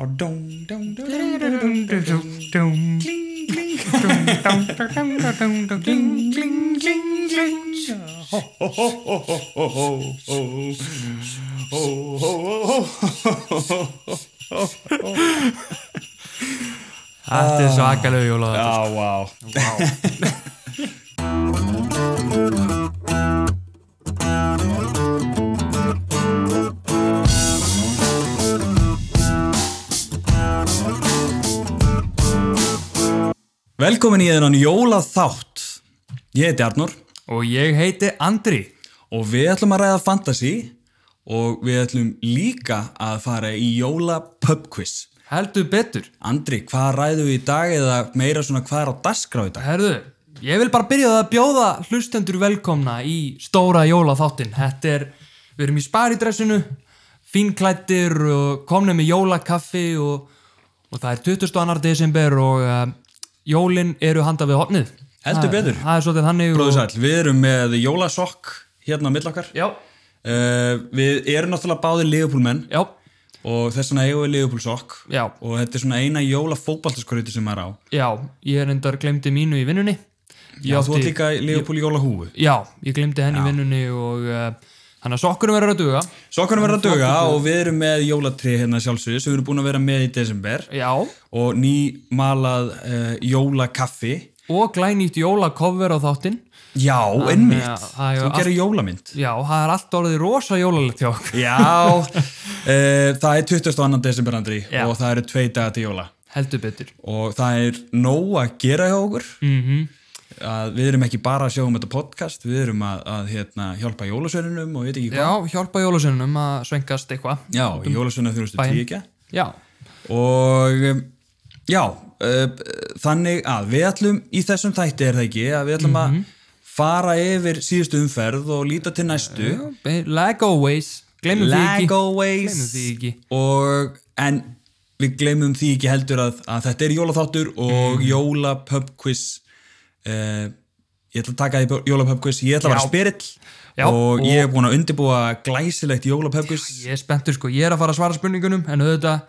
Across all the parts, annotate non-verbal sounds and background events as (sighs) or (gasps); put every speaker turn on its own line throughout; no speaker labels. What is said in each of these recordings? á dong dong dong dong dong dong dong kling kling kling kling kling kling ho ho ho ho ho ho ho ho ho ho
Þetta
Ah.
er svakalegu jólaðar
Já, vá
Velkomin í þennan jólaþátt. Ég heiti Arnór
Og ég heiti Andri
og við ætlum að ræða fantasy og við ætlum líka að fara í jóla pub quiz.
Heldur betur
Andri, hvað ræðum við í dag eða meira svona hvað er á dagskrá í dag?
Herðu, ég vil bara byrja á að bjóða hlustendur velkomna í stóra jólaþáttinn Þetta er, við erum í sparidressinu, fínklættir og komnum með jólakaffi og, og það er 22. desember og uh, jólin eru handa við hotnið
Heldur
Það-
betur.
Það er svolítið þannig
Bróðu sæl, við erum með jólasokk hérna á mill okkar.
Já,
Uh, við erum náttúrulega báðir Liverpool-menn
já,
og þess vegna eigum við Liverpool-sokk
Já.
og þetta er svona eina jólafótballtaskröyti sem maður á.
já, ég er endar glemdi mínu í vinnunni Ég
Já,
átti-
þú átt líka Liverpool-jólahúfu.
Já, ég glemdi henni í vinnunni og uh, þannig að sokkurum verður að duga
Sokkunum verður að döga og við erum með jólatri hérna sjálfsögðu sem við erum búin að vera með í desember
Já,
og nýmalað uh, jólakaffi.
og glænýtt jólakoffer á þáttinn
Já,
ja,
einmitt.
það er
Þú
allt-
gerir jólamynd.
Já, það er allt orðið rosa jólalegt hjá okkur
Já,
(laughs)
uh, það er 22. desember Andri
Já.
og það eru tvei dagar til jóla
Heldur betur
og það er nóg að gera hjá okkur.
mm
Að við erum ekki bara að sjá um þetta podcast, við erum að, að hérna, hjálpa jólasveininum og ég veit ekki hvað.
Já, hjálpa jólasunum að svengast eitthvað
Já, já jólasveinu þjónustu
bæinn.
tíkja.
Já,
og um, já uh, þannig að við ætlum í þessum þætti er það ekki að við ætlum að fara yfir síðustu umferð og líta til næstu
like always Gleymum því ekki
lag always
Gleymum því ekki
og en við gleymum því ekki heldur að, að þetta er jólaþáttur og mm. jólapubquiz uh, ég ætla að taka því jólapubquiz, ég ætla að
Já.
vera spyrill
Já,
og, ég er búin að undirbúa glæsilegt jólapubquiz
Ég er spenntur sko, ég er að fara að svara spurningunum en auðvitað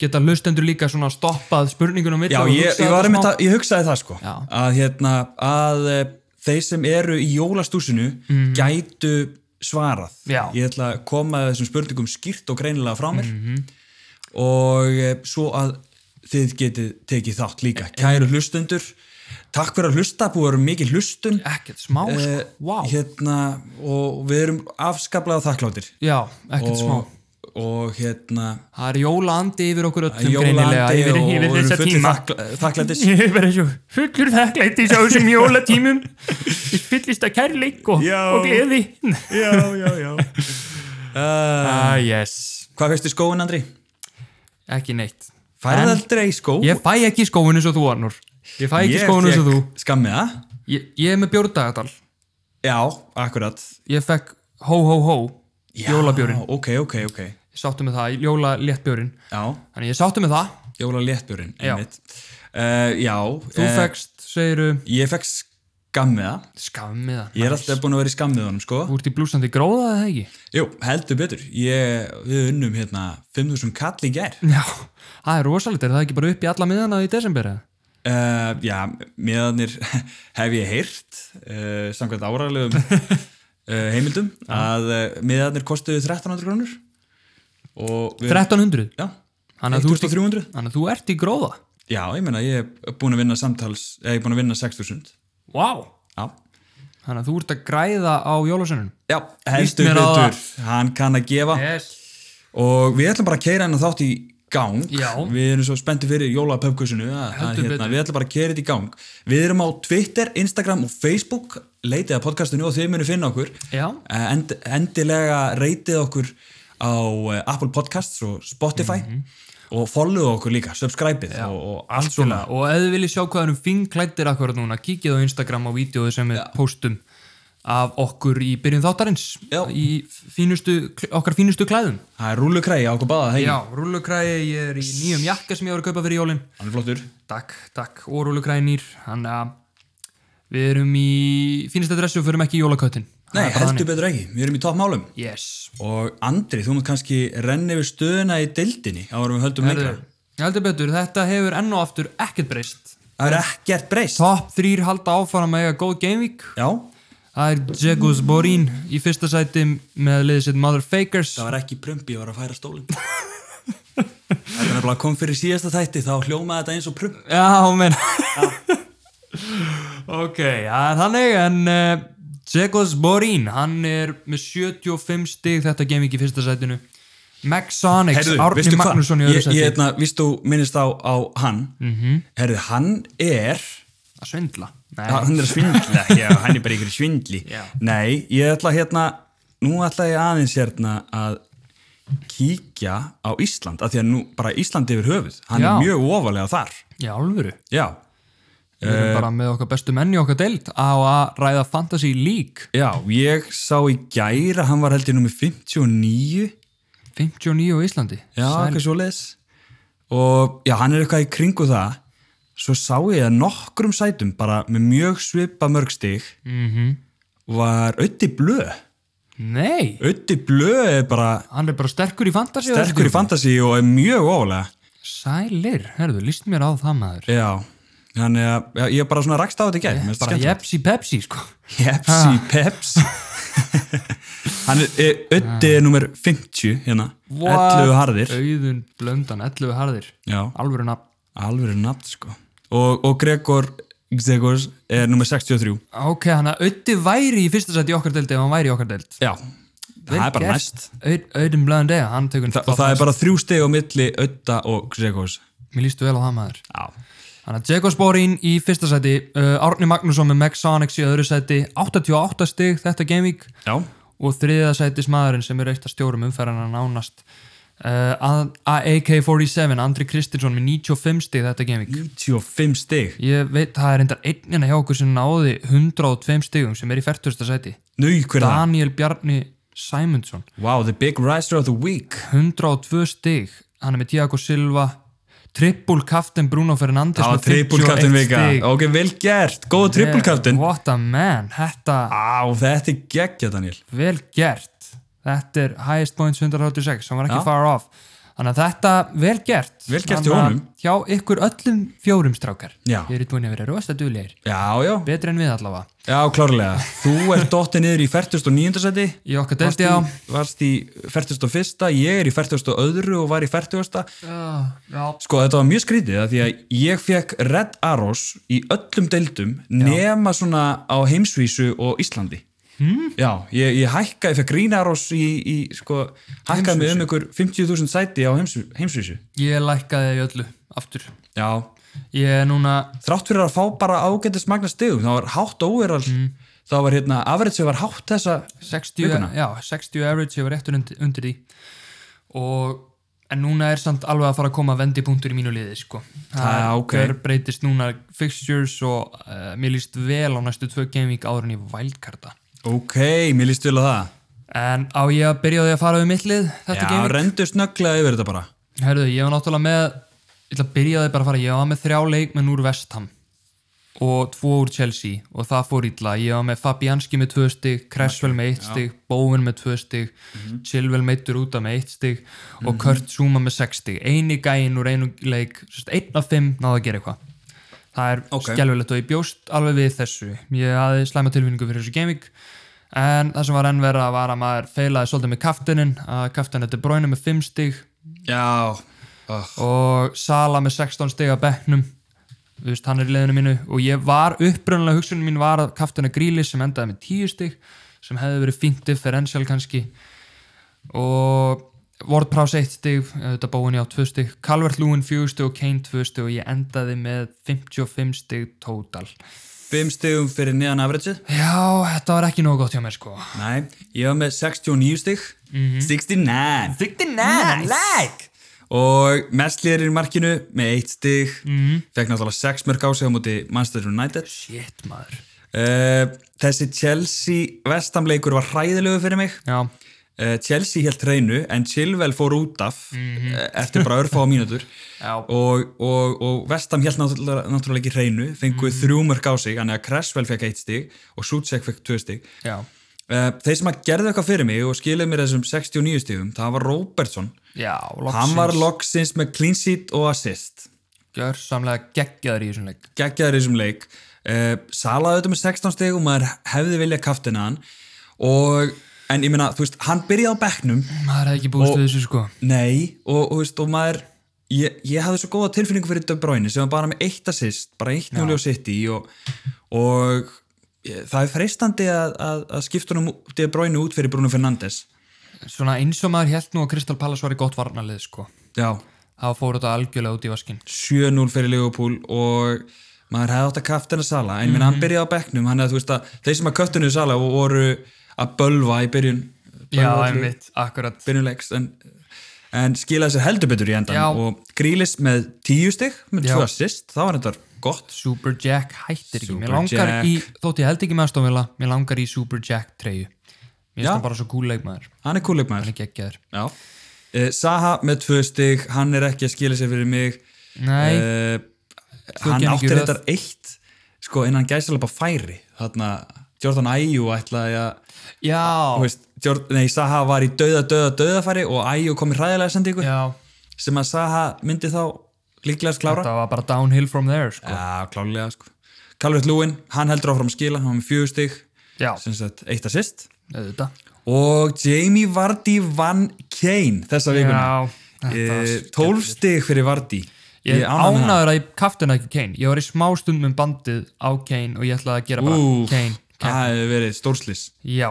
geta hlustendur líka svona stoppað spurningunum á milli
Já,
og
ég,
hugsað
ég, var
þetta
einmitt
smá.
að, ég hugsaði það sko
Já.
að, hérna, að eh, þeir sem eru í jólastúsinu gætu svarað
Mhm. Já.
ég ætla að koma þessum spurningum skýrt og greinilega frá mér
Mhm.
og eh, svo að þið getið tekið þátt líka
Eh,
kæru hlustundur, takk fyrir að hlusta búið að vera mikið hlustun
Ekkert smá sko,
Eh,
wow
hérna, og við erum afskaplega þakkláttir
Já, ekkert smá
og, og hérna
Það er jólaandi yfir okkur öllum greinilega
jólandi
yfir,
og
yfir
erum
þessa
fullir
tíma
þakkl- þakklætis
Ég er bara svo fullur þakklættis á þessum jólatímum
(laughs)
Ég fyllist að kærleik og,
Já.
og gleði
já, já, já
Ah, yes
Hvað veistu skóin, Andri?
Ekki neitt
Færið aldrei skó
Ég fæ ekki skóinu svo þú, Arnur Ég fæ ekki
Ég
skóinu svo
fékk
þú
Skammið það?
Ég, ég er með bjórdagatal
Já, akkurat
Ég fekk hó hó hó
Já,
Jólabjórinn.
Ok, ok, ok
Ég sáttu með það, jóla léttbjórin
Já,
Þannig ég sáttu með það
jóla léttbjörinn,
Já.
einmitt uh, Já
Þú
eh,
fekkst, segiru,
Ég fekk skammið það
skammið það
Ég er alltaf búin að vera í skammið honum, sko
Þú ert í blúsandi gróða eða ekki?
Jú, heldur betur ég, Við unnum hérna 5.000 kall í gær
Já, það er rosalegt, er það ekki bara upp í alla miðana í desember eða?
Uh, já, meðanir (laughs) hef ég heyrt uh, samkvæmt áralegum
(laughs)
uh, heimildum að uh, meðanir kostuðu 1300 krónur og við,
1300
já,
Þannig að þú ert í-
1300
Þannig að þú ert í gróða
Já, ég meina ég er búin að vinna samtals eða ég er búin að vinna 6000
wow.
Já,
Þannig að þú ert að græða á jólasönunum
já heldur
mér á
betur hann kann að gefa
yes.
og við ætlum bara að keira hennar þátt í gang
Já.
við erum svo spenntið fyrir jólapöpkusinu
Heldur
hérna,
betur.
við ætlum bara að keira þetta í gang við erum á Twitter, Instagram og Facebook leitið að podcastinu og þið munu finna okkur
Já.
Eh, End, endilega reytið okkur á eh, Apple Podcasts og Spotify
Mhm.
og follow okkur líka, subscribe-ið og, og allt svona
Og ef þið viljið sjá hvað erum fingklættir akkurat núna kíkið á Instagram á vídeoðu sem við postum af okkur í byrjun þáttarins
Já.
í fínustu, okkar fínustu klæðum
það er rúlukræði á okkur báða hei,
Já, rúllukræði, ég er í nýjum jakka sem ég var að kaupa fyrir jólin
hann er flottur
Takk, takk, og rúllukræði nýr Þannig að við erum í fínasta dressu og förum ekki í jólaköttin
Nei,
Það er bara
heldur
þannig.
betur ekki, við erum í toppmálum
Yes
og Andri, þú mútt kannski renna yfir stöðuna í deildinni áður en við höldum lengra
Herðu, Ég heldur betur, þetta hefur enn og aftur ekkert breyst.
Það er ekkert breyst.
Top 3 halda áfram að eiga góð gamevík.
Já,
Það er Jegus Borín í fyrsta sæti með liðið sitt Mother Fakers.
það var ekki prumpi, ég var að færa stólinn. (laughs) Þetta er nefnilega kom fyrir síðasta þætti, þá hljómaði þetta eins og prump.
Já, menn. (laughs) ok, það er þannig, en uh, Jekos Borín, hann er með 75 stig þetta gaming í fyrsta sætinu. Maxonics, Árni Magnússon í öðru
Ég,
sæti. Mhm.
ég, hérna, vístu, minnist á, á hann. Herðu, hann er...
Að svindla. Nei,
Hann er að
(laughs)
svindla, já, hann er bara ykkur svindli.
Já.
Nei, ég ætla hérna, nú ætla ég aðeins hérna að kíkja á Ísland, af því að nú bara Ísland yfir höfuð, hann
Já.
er mjög ofalega þar.
í alvöru.
Já,
Við
Eh.
erum bara með okkar bestu menn í okkar deild á að ræða Fantasy League.
já, ég sá í gæra, hann var heldur nummer 59,
59 á Íslandi.
já, eitthvað svo Og já, hann er eitthvað í kringu það, svo sá ég að nokkrum sætum, bara með mjög svipa mörgstig, mm -hmm. var Ötti Blö.
Nei,
Ötti Blö er bara
hann er bara sterkur í Fantasy. á þessu
sterkur í
tímabili.
fantasi og er mjög ofalega
Sælir, herðu, líst mér á það maður.
já, þannig að já, ég er bara svona rakst á þetta í gæð yeah,
Bara Jepsi Pepsi, sko.
jepsi peps (laughs) hann er, er öddi er nummer 50 hérna, 11 harðir
Auðun Blöndan, 11 harðir.
já,
Alvöru nafn.
alveg nafn sko og, og Gregor Gregor er nummer 63
Ok, hann að Ötti væri í fyrsta sæti í okkar deildi ef hann væri í okkar deild.
já, það er bara næst
Auðun Blöndan, hann tekur
og það er bara þrjú steg á milli ödda og Gregor
Mér lístu vel á það maður.
já,
Þannig að Jacob Sporín í fyrsta sæti, uh, Árni Magnússon með Meg Sonics í öðru sæti, 88 stig þetta gamevík
já,
og þriða sætis maðurinn sem er eitt að stjórum umferðan að nánast. Uh, AK-47, Andri Kristinsson með 95 stig þetta gamevík.
95 steg
Ég veit, það er endar einnina hjá okkur sem náði 102 stigum sem er í 40. sæti.
nú, hver er það?
Daniel Bjarni Sæmundsson
wow, the big riser of the week
102 stig, hann er með Tiago Silva triple kaftin Bruno Fernandes
Það var trippulkaftin vika. Ok, vel gert. Góð trippulkaftin.
Eh, what a man, þetta
Á, þetta er geggja, Daniel.
vel gert þetta er highest points 186 hann var ekki
Já.
far off þannig að þetta vel gert
Vel gert
Þannig
hjá
að
honum.
hjá ykkur öllum fjórum strákar
Já.
þið eru búin að vera rosa duglegir
Já, já.
betri en við allavega
Já, klárlega. Þú ert dottið niður í 49. seti.
í okkar delti á
Varst í 41. Ég er í 42. og var í 40.
já,
Sko, þetta var mjög skrítið að því að ég fekk Red Arrows í öllum deildum nema svona á heimsvísu og Íslandi. Hmm? Já, ég, ég hækkaði, fekk Green Arrows í, í sko, hækkaði mig um ykkur 50.000 sæti á heimsvísu. heimsvísu.
ég lækkaði í öllu aftur
Já,
ég er núna
þrátt fyrir að fá bara ágættis magna stigum, þá var hátt óverall þá var hérna, afriðsveg var hátt þessa
60, já, 60 average ég var réttur undir, undir því og en núna er samt alveg að fara að koma vendipunktur í mínu liði sko.
Ah, ok.
breytist núna fixtures og uh, mér líst vel á næstu tvö gamevík áður en ég vælkarta
ok, mér líst vel á það
en á ég að byrja á því að fara við mitt lið þetta
já,
gamevík,
rendu snögglega yfir þetta bara
herðu, ég var náttúrulega með ég ætla að byrja á því bara að fara, ég var með þrjá leikmenn úr Vestham og tvo úr Chelsea og það fór illa ég var með Fabianski með tvö stig, Cresswell með eitt stig Bowen með tvö stig mm Chilwell meittur úta með eitt stig og Kurt Zuma með sex stig eini gæinn úr einu leik, sérst, einn af fimm náðu að gera eitthvað það er
Ok.
okay. og ég bjóst alveg við þessu ég hafði slæma tilfinningu fyrir þessu gaming en það sem var enn verra var að maður feilaði svolítið með kaftinin að kaftin þetta er bróinu með fimm stig
já, oh.
og Sala með 16 stig að bekknum Þú veist, hann er í leiðinu mínu og ég var upprunnulega hugsunum mín var að kaftina Grílis sem endaði með 10 stig sem hefði verið fínt differential kannski og Wordprás 1 stig, þetta bóin ég á 2 stig Calvert Lúin 4 stig og Kane 2 stig og ég endaði með 55 stig total.
fimm stigum fyrir neðan afriðsveg
Já, þetta var ekki nógu gott hjá mér sko
nei, ég var með 69 stig 69
69, like
og mestlýðir í markinu með eitt stig fekk náttúrulega sex mörg á sig á móti Manchester United
Shit maður
uh, þessi Chelsea vestamleikur var hræðilegu fyrir mig
Já,
Eh, Chelsea held reynu en Chilwell fór út af eh, eftir bara örfá mínútur
Já.
og, og, og Vestam held náttúrulega, náttúrulega ekki reynu fenguð mm -hmm. þrjú mörg á sig, þannig að Cresswell fekk eitt stig og Suchek fekk tvö stig
já
Eh, Þeir sem að gerðu eitthvað fyrir mig og skilið mér þessum 69 stífum, það var Robertson.
Já,
Hann var
loksins
loksins með clean sheet og assist.
gjörsamlega geggjaður í þessum leik
geggjaður í þessum leik uh, salaði auðvitað með 16 stig og maður hefði viljað kaftina hann og, en ég meina, þú veist, hann byrjaði á bekknum
Maður hefði ekki búist við þessu sko
nei, og, og, þú veist, og maður ég, ég hafði svo góða tilfinningu fyrir Döf Bráinu sem var bara með eitt assist, bara eitt núli á sitt í og, og ég, það er freistandi að, að, að skipta honum Döf Bráinu út fyrir Bruno Fernandes
Svona eins og maður held nú að Kristal Pallas var í gott varnarlið sko
já,
Það fór þetta algjörlega út í vaskinn
7-0 fyrir Liverpool og maður hefði átt að kaftina Sala en mm -hmm.
Mhm.
hann byrjaði á bekknum hann eða þú veist að þeir sem að köftinu Sala voru að bölva í byrjun
Já,
bölva fyrir
einmitt, akkurat
byrjunleiks en, en skilaði sér heldur betur í endan
Já.
og grílis með 10 stig með
Já.
2 assist, það var þetta gott
Super Jack hættir ekki Mér
Super
langar
Jack.
í, þótt ég held ekki með aðstofnvila Mér langar í Super Jack treyju Mér finnst
Já.
það bara svo cool leikmaður
hann er kúleik
Hann
maður
er geggjaður
Já. Eh, Saha með 2 stig, hann er ekki að skila sér fyrir mig
Nei,
Eh, hann
genið
átti
ekki röð.
þetta eitt sko innan gæsala bara færi þarna Jordan Ayew ætlaði að
já,
Þú veist, Jord, nei, Saha var í dauða, dauða, dauðafæri og Æjó kom í hræðilega sendingu
já
sem að Saha myndi þá líklega klára.
Þetta var bara downhill from there sko.
Já, klálega, sko. Calvert Lúin, hann heldur áfram að skila, hann var með fjögur stig,
Já,
sem sagt eitt assist.
auðvitað
Og Jamie Vardy vann Kane þessa vikuna.
þetta
Eh, 12 stig fyrir Vardy.
Ég
er ánægður með það.
ánaður að ég kaftin ekki Kane Ég var í smá stund með bandið á Kane og ég ætlaði að gera bara
Úff,
Kane, Kane.
Það hefur verið stórslis.
Já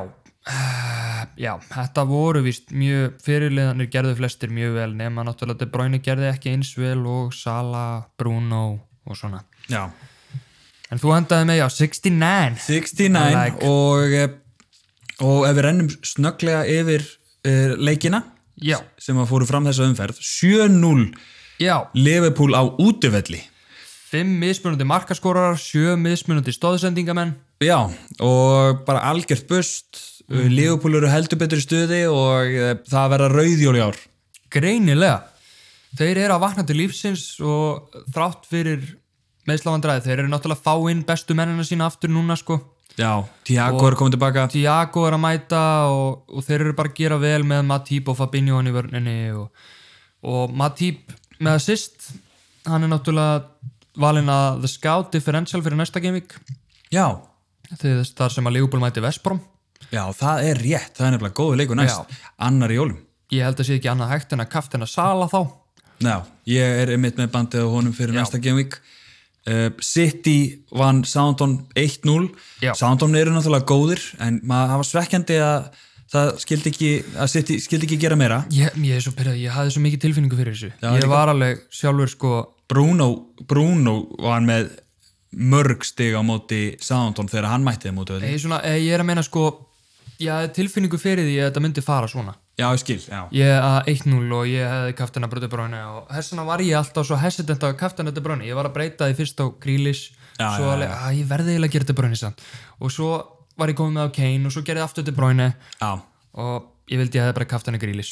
(sighs) Já, þetta voru víst mjög fyrirliðanir gerðu flestir mjög vel nema náttúrulega De Bruyne gerði ekki eins vel og Sala, Bruno og svona
Já.
En þú hendaði með, já, 69
69
Like.
og, eh, og ef við rennum snögglega yfir uh, leikina
Já,
sem að fóru fram þessa umferð 7-0
já,
Liverpool á útivelli
5 mismunandi markaskórar 7 mismunandi stóðsendingamenn
já og bara algjört bust mm. Liverpool eru heldur betur í stuði og eh, það verða rauðjól í ár
Greinilega Þeir eru að vakna til lífsins og þrátt fyrir meðslavandræði þeir eru náttúrulega að fá inn bestu mennina sína aftur núna sko
já, Tiago er komin tilbaka
Thiago er að mæta og, og þeir eru bara að gera vel með Matip og Fabinho hann í vörninni og, og Matip með assist hann er náttúrulega valinn að The Scout Differential fyrir næsta gaming
já,
þegar þess þar sem að Leopold mæti Vesprom
já, það er rétt það er nefnilega góðu leiku næst annar í jólum
ég held að sé ekki annað hægt en að kaftina Sala þá
já, ég er einmitt með bandið á honum fyrir næsta gameweek Uh, City vann Soundon 1-0
Já.
Soundon eru náttúrulega góðir en maður hafa svekkjandi að það skildi ekki, að City skildi ekki gera meira
ég, ég, er svo byrjað, ég hafði svo mikið tilfinningu fyrir þessu
Já,
ég
líka.
var alveg sjálfur sko
Bruno, Bruno var með mörg stig á móti Soundon þegar hann mætti þeim móti öll.
ég, er svona, ég er að meina sko ég hafði tilfinningu fyrir því að þetta myndi fara svona
Já, ég skil, já. (laughs)
ég að 1-0 og ég hefði kaftina Brödu Bráni og þessuna var ég alltaf svo hesitant að kaftina Brödu Bráni, ég var að breyta því fyrst á Grílis,
Já,
svo
já,
alveg að ég verði eiginlega að gera Brödu Bráni samt og svo var ég komið með á Kane og svo gerði ég aftur Brödu Bráni
Já.
og ég vildi ég hefði bara kaftina Grílis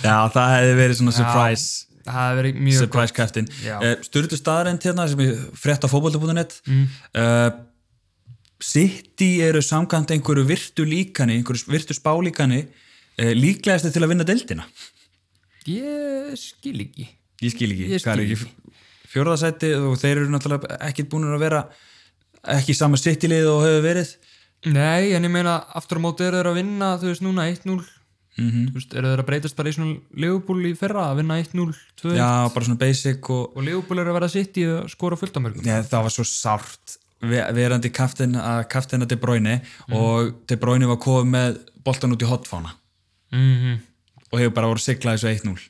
já, það hefði verið svona surprise,
það hefði verið mjög
surprise kæftin.
Já.
Uh, Sturðu staðarend hérna sem ég frétt á fótbolta.net. Mm. City eru samkvæmt einhverju virtu líkani, einhverju virtu spálíkani, uh, líklegasti til að vinna deildina.
ég skil ekki
Ég skil ekki.
Ég skil
Hvað er
ekki.
Fjórðasæti og þeir eru náttúrulega ekkit búin að vera ekki í sama City-lið og hefur verið.
nei, en ég meina aftur á móti eru þeir að vinna þú veist núna 1-0
Mhm.
þú veist, eru þeir að breytast bara í svona Leopold í fyrra að vinna 1-0, 2-0
Já, bara svona basic og
og Leopold eru að vera sitt í að skora fullt á mörgum
Nei, það var svo sárt ve- verandi kaftin að kaftina De Bruyne
Mm.
og De Bruyne var komið með boltan út í hotfána
mhm
og hefur bara voru siglað þessu 1-0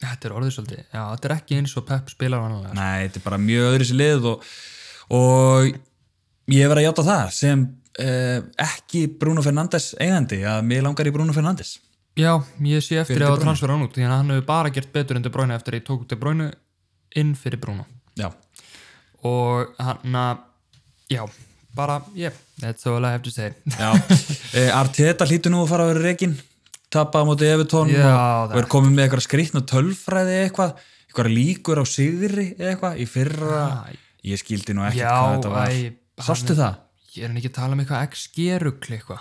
Þetta er orðið svolítið, já, þetta er ekki eins og Pep spilar vanlega.
Nei, þetta er bara mjög öðru sér lið og, og ég verið að játa það sem eh, ekki Bruno Fernandes eigandi að mér langar í Bruno Fernandes
Já, ég sé eftir
Fyrir De
að
Bruyne.
transfera hann út, því að hann hefur bara gert betur en De Bruyne eftir að ég tók De Bruyne inn fyrir Bruno.
Já,
Og hann að, já, bara, yeah, that's all I have to say. (laughs)
já (laughs) eh, Arteta hlýtur nú að fara að vera rekin tapa á móti Evertón
Já,
og
það.
er komið með eitthvað skrýtna tölfræði eða eitthvað, eitthvað líkur á sigri eða eitthvað í fyrra
Æ.
Ég skildi nú ekkert
Já,
hvað þetta var.
æ,
Sástu það?
er hann ekki að tala um eitthvað XG-rugl eitthvað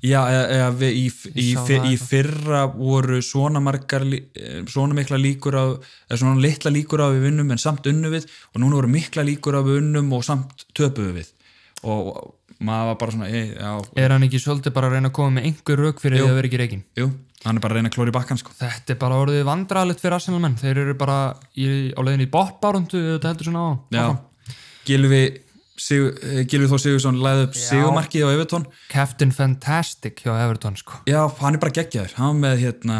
Já, eða, eða við, í, í,
sá
í,
það
í
eitthvað.
fyrra voru svona margar, lí- eh, svona mikla líkur á, eða svona litla líkur á að við vinnum en samt unnu við og núna voru mikla líkur á að við vinnum og samt töpuðu við og maður var bara svona, e, já,
er hann ekki svolítið bara að reyna að koma með einhver rög fyrir því að vera ekki reikin
jú, hann er bara að reyna að klóra í bakkan sko.
þetta er bara orðið vandralegt fyrir Arsenal menn þeir eru bara í, á leiðinni í botbárundu þetta heldur svona á
Já, Gilvi, Sigur, eh, Gilvi Þór Sigursson læði upp Sigurmarkið á Evertón
Captain Fantastic hjá Everton sko
Já, hann er bara geggjaður, hann var með hérna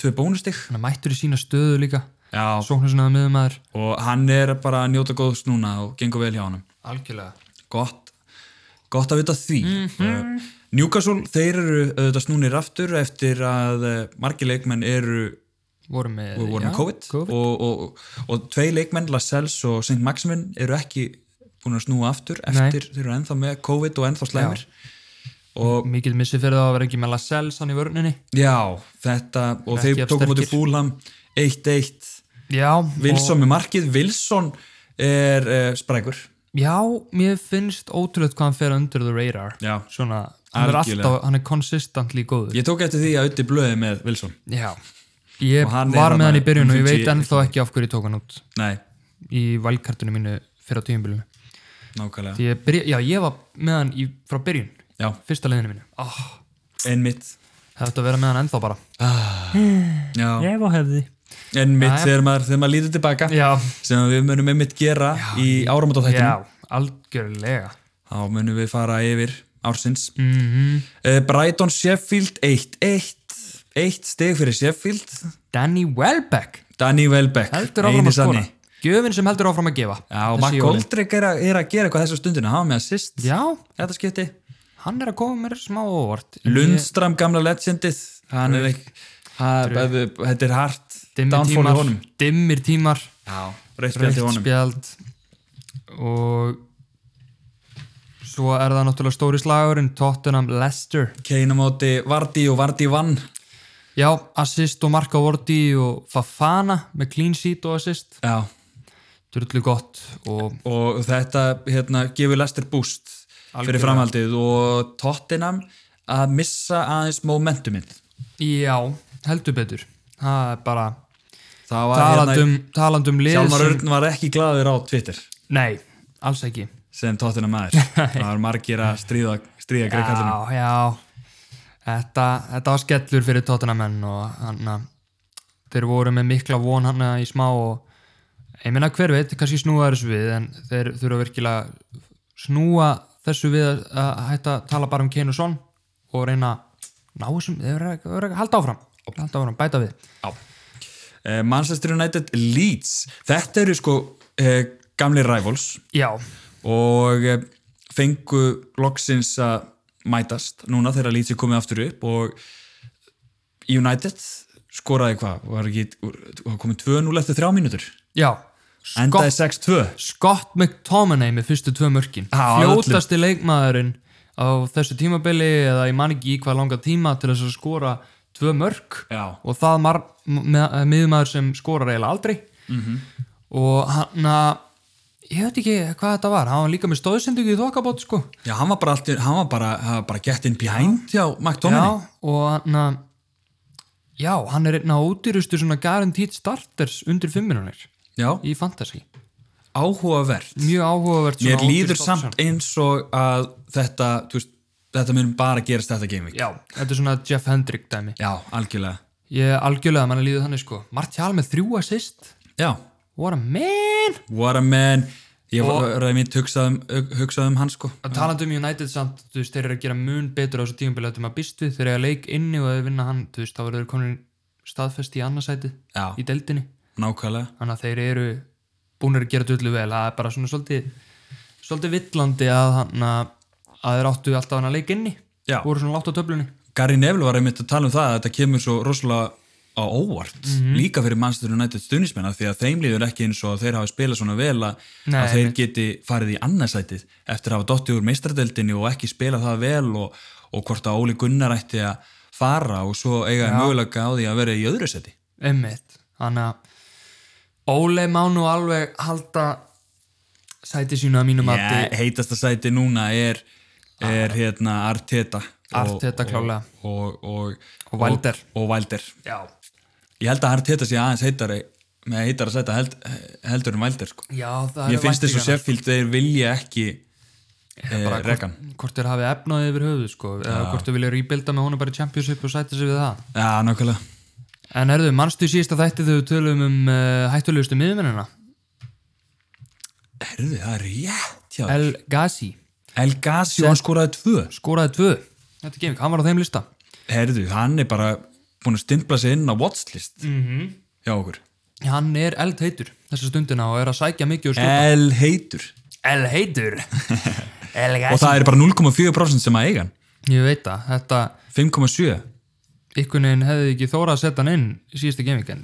tvö bónustig
hann er mættur í sína stöðu líka
Já,
sóknar sinnaða miðum aður
og hann er bara að njóta góðs núna og gengur vel hjá honum
algjörlega
gott, gott að vita því
Mhm.
mm Newcastle, þeir eru auðvitað snúnir aftur eftir að eh, margir leikmenn eru
voru með,
voru með
já,
COVID, Og, og, og tvei leikmenn, Lascelles og St. Maximin eru ekki búin að snúa aftur eftir þeir eru ennþá með COVID og ennþá slæmir og
mikið missi fyrir það að vera ekki með Lascelles hann í vörninni
já, þetta og
Ekki
þeir
jafn
tókum út í
sterkir.
fúlam 1-1,
já, og,
Wilson með markið Wilson er uh, sprækur
já, mér finnst ótrúlegt hvað hann fer under the radar
Já.
svona, hann er
Algjörlega.
alltaf, hann er consistently góður
ég tók eftir því að auðvitað blöði með Wilson
já, ég
Og hann er
var
þarna
með hann í byrjun og ég
50
veit ennþá ekki af hverju ég tók hann út
nei,
í valkartunum mínu fyrir á tíumbilinu
nákvæmlega,
ég byrja, já, ég var með hann í, frá byrjun
já,
fyrsta leiðinu mínu oh,
einmitt
það ætti að vera með hann ennþá bara
já,
ef á hefði
En mitt þegar maður, þegar maður lítur tilbaka
já,
sem við munum einmitt gera í áramótáþættinum
já, algjörlega
þá munum við fara yfir ársins mm
Mhm.
Brighton Sheffield 1-1 1 steg fyrir Sheffield
Danny Welbeck
Danny Welbeck
heldur áfram
eini
að skora
sanni.
gjöfin sem heldur áfram að gefa
Já, og
Þessi
Mark
jólin.
Goldrick er, að- er að gera eitthvað þessu stundinu hafa með assist
já,
þetta skipti
hann er að koma mér smá óvart
Lundstram gamla legendið hann er ekki ha- bæðu- þetta er hart
dimmir
downfall í
tímar,
honum
dimmir tímar
já, reitt spjald
reykt
í honum
spjald og svo er það náttúrulega stóri slagurinn Tottenham Leicester
Kane á móti Vardí og Vardí vann
já, assist og marka vorti og Fafana með clean sheet og assist
já,
drullu gott og
og þetta hérna, gefur Lester boost fyrir
Algjörlega.
framhaldið og Tottenham að missa aðeins momentuminn
já, heldur betur það er bara
það var
talandum, talandum lið
hérna Hjálmar
sem-
Örn var ekki glaður á Twitter
nei, alls ekki
sem Tottenham maður það var margir að stríða, stríða greikallinu
Já, já Þetta, þetta var skellur fyrir Tottenhamenn og hann að þeir voru með mikla von hann uh, í smá og ég meina hver veit, kannski snúa þessu við en þeir þurfa virkilega snúa þessu við að, að hætta að tala bara um Kane og Son og reyna að ná þessum, þeir verða þeir verða að halda áfram halda áfram, bæta við
Eh, Manchester United Leeds þetta eru sko eh, gamli rivals
Já,
og eh, fengu loksins að mætast núna þegar Leeds er komið aftur upp og United skoraði hvað, var ekki var komið 2-0 eftir þrjá mínútur
já
endaði
Scott,
6-2
Scott McTominay með fyrstu tvö mörkin
Já, öllum.
fljótasti leikmaðurinn á þessu tímabili eða ég man ekki í hvað langa tíma til þess að skora tvö mörk
Já.
og það mar- með- miðmaður sem skorar eiginlega aldrei
Mhm.
-hmm. og hann að ég veit ekki hvað þetta var hann var líka með stóðsendingu í þokkabót sko
já, hann var bara, allt í- hann var bara, hann var bara get in behind hjá McTominay
já, og hann að já, hann er einn á ódýrustu svona guaranteed starters undir fimmirunir
já, Mm.
í fantasy
áhugavert
mjög áhugavert svona
mér líður
ódýr starters.
samt eins og að þetta þú veist, þetta mun bara gerast þetta gaming
já, þetta er svona Jeff Hendrick dæmi
já, algjörlega
Ég algjörlega mann að líða þannig sko Martial með þrjú assist
já,
What a man
what a man ég var reymitt hugsað um, hugsað um hann sko
Að talandi um United samt, þú veist, þeir eru að gera mun betur á þessu tímabili Þetta maður býst við, þeir eru að leik inni og að vinna hann Þú veist, þá verður þeir komin staðfesti í annarsæti
Já.
Í deildinni
nákvæmlega
Þannig að þeir eru búnir að gera dullu vel Það er bara svona svolítið Svolítið villandi að hann að að þeir áttu alltaf hann að leik inni
Já.
Voru svona látt á töflunni
Gary Neville var einmitt að tala um það að þetta kemur svo rosalega á óvart
Mhm.
líka fyrir Manchester United stuðnismennar því að þeim líður ekki eins og að þeir hafi spilað svona vel að,
Nei,
að þeir geti farið í annarsætið eftir að hafa dottið úr meistradeldinni og ekki spilað það vel og, og hvort að Óli Gunnar ætti að fara og svo eiga þeir mögulega á því að vera í öðru sæti
Einmitt. Þannig að Óli má nú alveg halda sæti sínu að mínum yeah.
Já, heitasta sæti núna er, er hérna Arteta og-
Ah. Arteta klálega.
og, og,
Og Wilder.
og, og Valder
Já,
ég held að Arteta sé aðeins heitari með heitara sæti held, heldur en Valder sko.
já það
ég
eru
finnst þess að
væntingarnar.
Sheffield þeir vilja ekki eh,
Bara
rekan
hvort, hvort þeir hafið efnaði yfir höfuð sko, eða hvort þeir vilja rebuilda með honum bara í championship og sæta sig við það
Já, nákvæmlega
En herðu, manstu í síðasta þætti þegar við tölum um uh, hættulegustu miðmennina
Herðu, það er rétt hjá El,
El Gassi,
El Gassi og hann skoraði tvö
skoraði tvö Þetta gemik, hann var á þeim lista
Herðu, hann er bara búin að stimpla sig inn á watchlist -hmm.
Mhm.
hjá okkur
Hann er eldheitur þessa stundina og er að sækja mikið og skjóta
El heitur
Eldheitur El
og það er bara 0,4% sem að eiga hann
Ég veit það, þetta
5,7
ykkur neginn hefði ekki þóra að setja hann inn í síðasta gemik en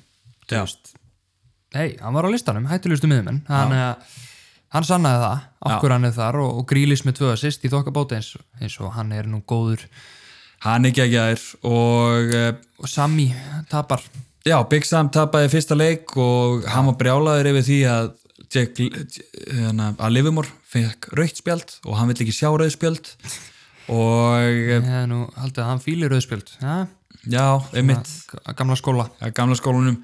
Já.
hei, hann var á listanum, hættulegustu miðmenn hann, ja. hann sannaði það, okkur hann er þar og, og grílis með tvö assist í þokkabóti eins, eins og hann er nú góður
Hann er geggjær og eh,
og Sami tapar
já, Big Sam tapaði fyrsta leik og hann var brjálaður yfir því að Jack, hérna, að Livimor fekk raukt spjald og hann vill ekki sjá rauð spjald og eh,
ég hefði nú haldið að hann fýlir rauðspjöld ja?
já, einmitt
Ga- gamla skóla
að gamla skólanum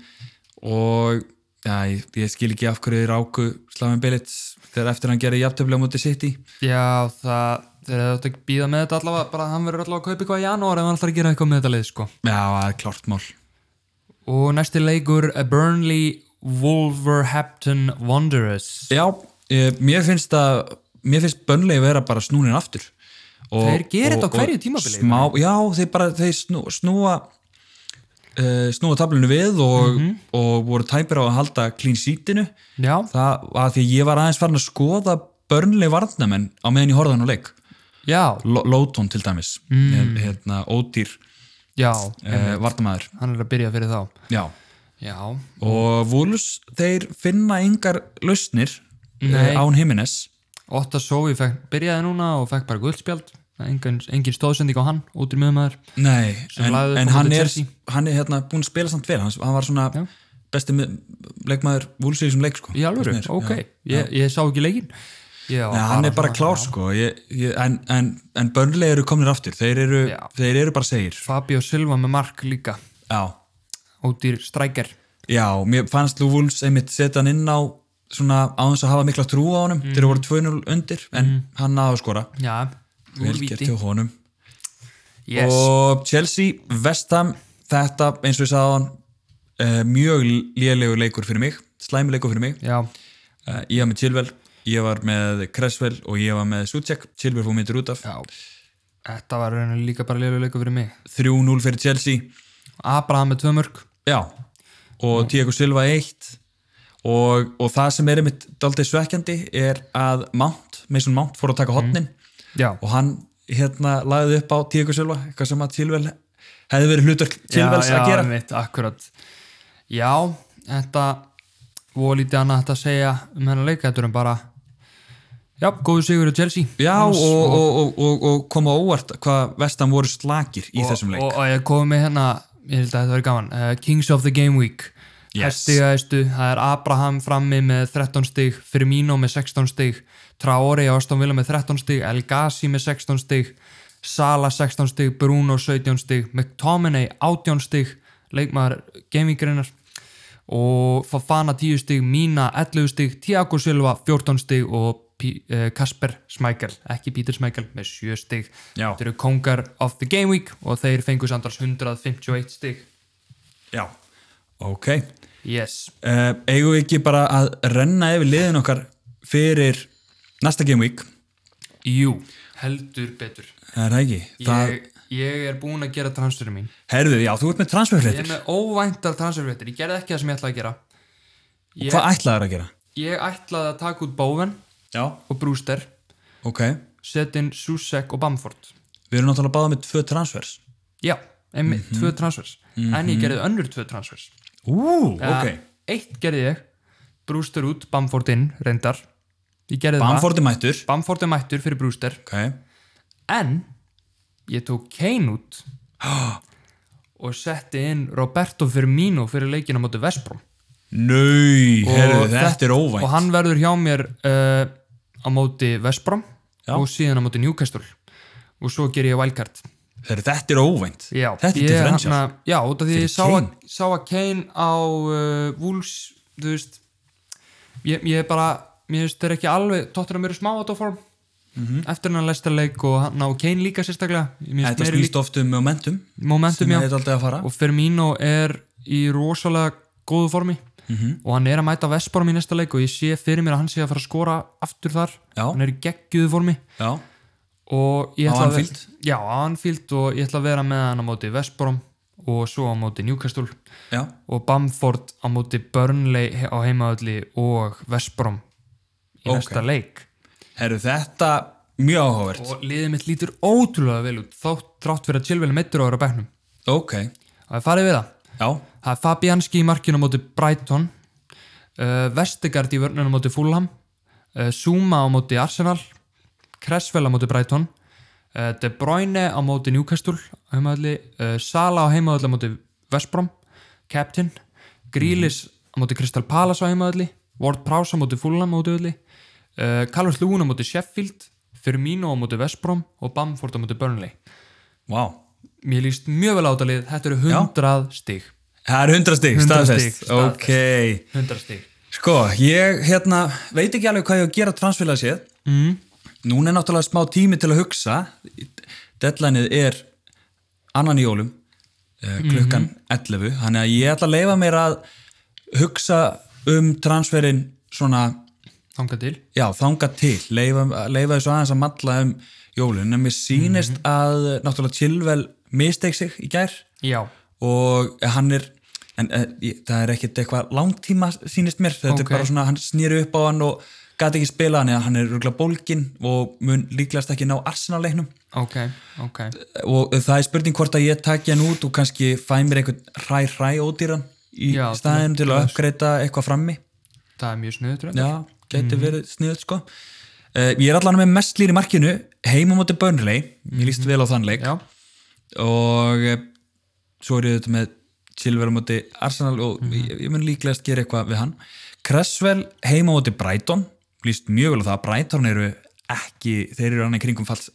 og já, ég, ég skil ekki af hverju þeir ráku Slavin Billits þegar eftir hann gerði jafntöfli á móti City
já það þeir hefði þetta ekki býða með þetta allavega bara hann verður allavega að kaupa eitthvað í janúar ef hann ætlar að gera eitthvað með þetta lið sko
Já, það er klart mál
og næsti leikur eh, Burnley Wolverhampton Wanderers
Já, ég, mér finnst að mér finnst bönnlegi vera bara snúnin aftur og,
Þeir gera þetta á
og-
hverju
og
tímabili,
smá, Já, þeir bara þeir snú, snúa uh, snúa tablinu við og,
Mhm.
og voru tæpir á að halda clean seatinu
já,
það var því að ég var aðeins farin að skoða bönnlegi varnamenn á meðan ég horfði á hann á leik
já,
Lo- Lóton til dæmis mm. hérna, ódýr
já
uh, vartamæður
hann er að byrja fyrir þá
já.
já,
og Wolves þeir finna engar lausnir uh, án Jimenez
Otta Sovi fekk, byrjaði núna og fekk bara guldspjald engin, engin stóðsending á hann út í miðumæður
Nei,
Sem
en,
lagði upp
en
á móti
hann, er,
Chelsea.
hann er hérna búin að spila samt vel hann, hann var svona besti mið- leikmaður Wolves í þessum leik sko,
í alvöru,
Finnst mér.
ok, ég, ég sá ekki leikin já,
Nei, hann er bara
svona-
klár sko ég, ég, en, en, en börnlega eru komnir aftur þeir eru,
Já.
þeir eru bara segir
Fabio Silva með mark líka
já,
ódýr strækjar
já mér fannst Lú Wolves einmitt setja hann inn á svona á þess að hafa mikla trú á honum
Mhm.
þeir eru voru 2-0 undir en hann náðu að skora
já,
vel gert hjá honum
yes.
og Chelsea, Vestham þetta eins og ég sagði á hann mjög lélegur leikur fyrir mig slæmi leikur fyrir mig
já,
Uh, ég var með Chilwell, ég var með Cresswell og ég var með Suchek, Chilwell fór myndir út af
já þetta var rauninni líka bara leilu leiku fyrir mig
3-0 fyrir Chelsea
Abraham með tvö mörg
já. og Diego Silva 1 og, og það sem er einmitt daldið svekkjandi er að Mount, Mason Mount fór að taka
Mhm.
hotnin
já,
og hann hérna lagði upp á Diego Silva, eitthvað sem að Chilwell hefði verið hlutur Chilwells
já,
að gera
mitt, akkurat já, þetta voru lítið annað hægt að segja um hennar leika, þetta er bara já, góðu sigur í Chelsea
Já, og,
Hans-
og, og, og, og koma óvart hvað vestan voru slakir í þessum leik
og, og ég kom með hérna, ég held að þetta verið gaman uh, Kings of the Game Week
Yes.
hæstigaðistu, það er Abraham frammi með 13 stig, Firmino með 16 stig Traore og Aston Villa með 13 stig El Gassi með 16 stig Sala 16 stig, Bruno 17 stig McTominay 18 stig leikmaður gamingreinar og Fafana 10 stig Mina 11 stig, Tiago Silva 14 stig og P- eh, Kasper Smækjal, ekki Pítur Smækjal með 7 stig
Já.
Þetta eru kongar of the game week og þeir fengu samtals 151 stig.
Já, ok
Yes.
uh, eigum við ekki bara að renna yfir liðin okkar fyrir næsta game week
Jú, heldur betur.
það er það ekki það,
Ég, ég er búinn að gera transferið mín.
herðu, já, þú ert með
Ég er
transferfréttir
með óvæntar transferfréttir. Ég gerði ekki það sem ég ætlaði að gera. Ég,
hvað ætlaður að gera?
ég ætlaði að taka út Bowen
já,
og Brewster,
ok,
setja inn Susek og Bamford.
við erum náttúrulega báða með tvö transfers
Já, einmitt,
Mhm.
tvö transfers. En ég gerði önnur tvö transfers.
ú,
Eða, Eitt gerði ég, Brewster út, Bamford inn, reyndar. Ég gerði
Bamford er mættur
það. Bamford er mættur fyrir Brewster.
ok,
En ég tók Kane
(gasps)
út og setti inn Roberto Firmino fyrir leikina móti Vesprum
nöy, herðu,
Og
þetta er
og
óvænt
hann verður hjá mér uh, á móti Vesbrom
Já.
og síðan á móti Newcastle og svo ger ég wildcard
Herri, þetta er óvænt
já,
þetta er
ég,
differential
hana, já, út af því
Fyrir
ég sá að,
Kane.
sá að Kane á uh, Wolves þú veist ég, ég bara, mér veist þeir ekki alveg tóttir að mér er smá að form eftir hann að lesta leik og hann á Kane líka sérstaklega Mér finnst
Mhm. Þetta
meiri
snýst oft um momentum
momentum
sem
já
er aldrei að fara
og Firmino er í rosalega góðu formi og hann er að mæta Vestborum í næsta leik og ég sé fyrir mér að hann sé að fara að skora aftur þar
Já.
hann er í geggjuðu formi
Já,
og
Á
ég ætla að-
Anfield?
já, á Anfield og ég ætla að vera með hann á móti Vestborum og svo á móti Newcastle
já,
og Bamford á móti Burnley he- á heimaðalli og Vestborum í
Ok.
næsta leik
herru, þetta mjög áhugavert
og liðið mitt lítur ótrúlega vel út þátt trátt fyrir að Chilwell er meittur á ára bæknum
Ok,
og það er farið við það
já,
Það er Fabianski í markinu á móti Brighton uh, Vestegard í vörnunum á móti Fulham uh, Zuma á móti Arsenal Cresswell á móti Brighton uh, De Bruyne á móti Newcastle á heimaðalli, uh, Sala á heimaðalli á móti Vestbrom, Captain Grealish á móti Crystal Palace á heimaðalli, Ward Prowse á móti Fulham á móti heimaðalli, uh, Callum Lúin á móti Sheffield, Firmino á móti Vestbrom og Bamford á móti Burnley
vá
Mér líst mjög vel á þetta lið, þetta eru 100 stig
Það er 100 stig,
100 stig,
staðfest
staðfest.
Ok,
100 stig
sko, ég hérna veit ekki alveg hvað ég á að gera transfélag séð mm. Núna er náttúrulega smá tími til að hugsa Deadlineið er annan í jólum eh, klukkan 11 Þannig að ég ætla að leifa mér að hugsa um transferin svona
Þangað til
Já, þanga til, leifa, leifa þessu aðeins að matla um jólun, en mér sýnist
Mhm.
að náttúrulega Chilwell misteik sig í gær
Já,
og hann er, en e, ég- það er ekkit eitthvað langtíma sýnist mér, þetta
Ok.
er bara svona, hann snýri upp á hann og gati ekki spila hann eða hann er rúglega bólgin og mun líklegast ekki ná Arsenal-leiknum
ok, ok
og það er spurning hvort að ég taki hann út og kannski fæ mér einhvern hræ-hræ ódýran í
Já, til
staðin til að uppgreita eitthvað frammi.
Það er mjög snuður
Já, gæti
Mm.
verið sniðut sko uh, Ég er allan með mest lýri markinu heima móti Burnley, ég líst vel á þann leik
Mhm. Já,
og uh, svo er ég þetta með Silver á móti Arsenal og
Mhm.
ég, ég mun líklegast gera eitthvað við hann Cresswell heima móti Brighton líst mjög vel á það, Brighton eru ekki, þeir eru hann í kringum falls,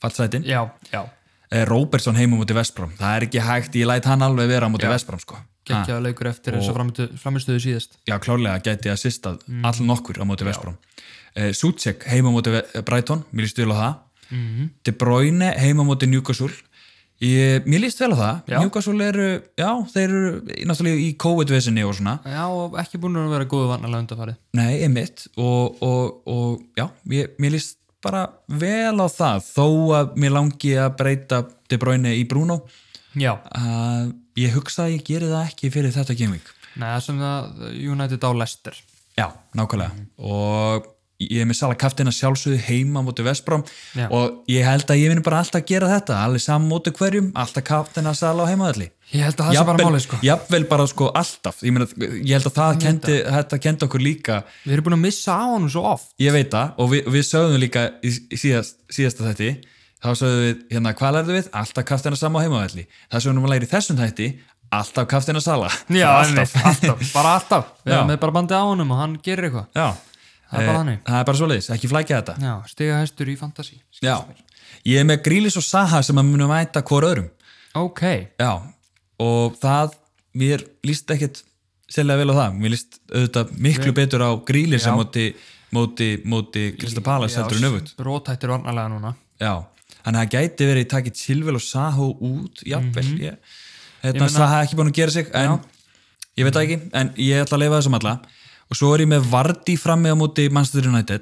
fallsætin,
já, já
yeah. Robertson heima móti Vestbrom, það er ekki hægt, ég læt hann alveg vera á móti Vestbrom sko Ha.
Gekkjaða leikur eftir þess að framistöðu síðast
já, klárlega gæti að sista mm. all nokkur á móti Vestbrom uh, Sútsek heima á móti Ve- eh, Brighton, mér líst vel á það De Bruyne heima á móti Newcastle ég, mér líst vel á það
Já.
Newcastle eru, já, þeir eru í- náttúrulega í COVID-vesinni og svona
Já, og ekki búin að vera góðu vannalega undarfarið
nei, emitt og, og, og já, ég, mér líst bara vel á það þó að mér langi að breyta De Bruyne í Bruno
Já,
uh, ég hugsa að ég geri það ekki fyrir þetta gaming
neða sem það United á Leicester
Já, nákvæmlega og ég er með Sala Kaftina sjálfsögðu heima mútið Vesprám
Já.
og ég held að ég vinn bara alltaf að gera þetta allir saman mútið hverjum, alltaf Kaftina Sala á heimaðalli
Ég held að það sé bara málið sko
jafnvel bara sko alltaf ég, meina, ég held að það kendi, þetta kendi okkur líka
Við erum búin að missa á honum svo oft
ég veit það og við, við sögðum líka í í síðast, síðasta þætti þá sögðum við, hérna, hvað lærðu við? Alltaf Kaftina Sala á heimaðalli það sögðum við að læra í þessum þætti alltaf Kaftina Sala (laughs) alltaf.
alltaf, bara alltaf Við
Já.
erum með bara bandið á honum og hann gerir eitthvað
Já.
Það er bara
Eh,
þannig.
það er bara svoleiðis, ekki flækja þetta
Já, stiga hæstur í fantasy
Já, ég er með Grílis og Saha sem að munum mæta hvort öðrum
Ok,
Já, og það mér líst ekkit sérlega vel á það, mér líst auðvitað miklu betur á Grílis sem móti móti, móti Krista Palas heldur en öfut
rótættir vannalega núna
Já, þannig að það gæti verið takið Silvel og Saha út, jafnvel mm -hmm. Þetta
meina-
meina... Saha ekki búin að gera sig en ég veit það ekki, en ég ætla að leifa þessum alla og svo er ég með Vardí frammi á móti Manchester United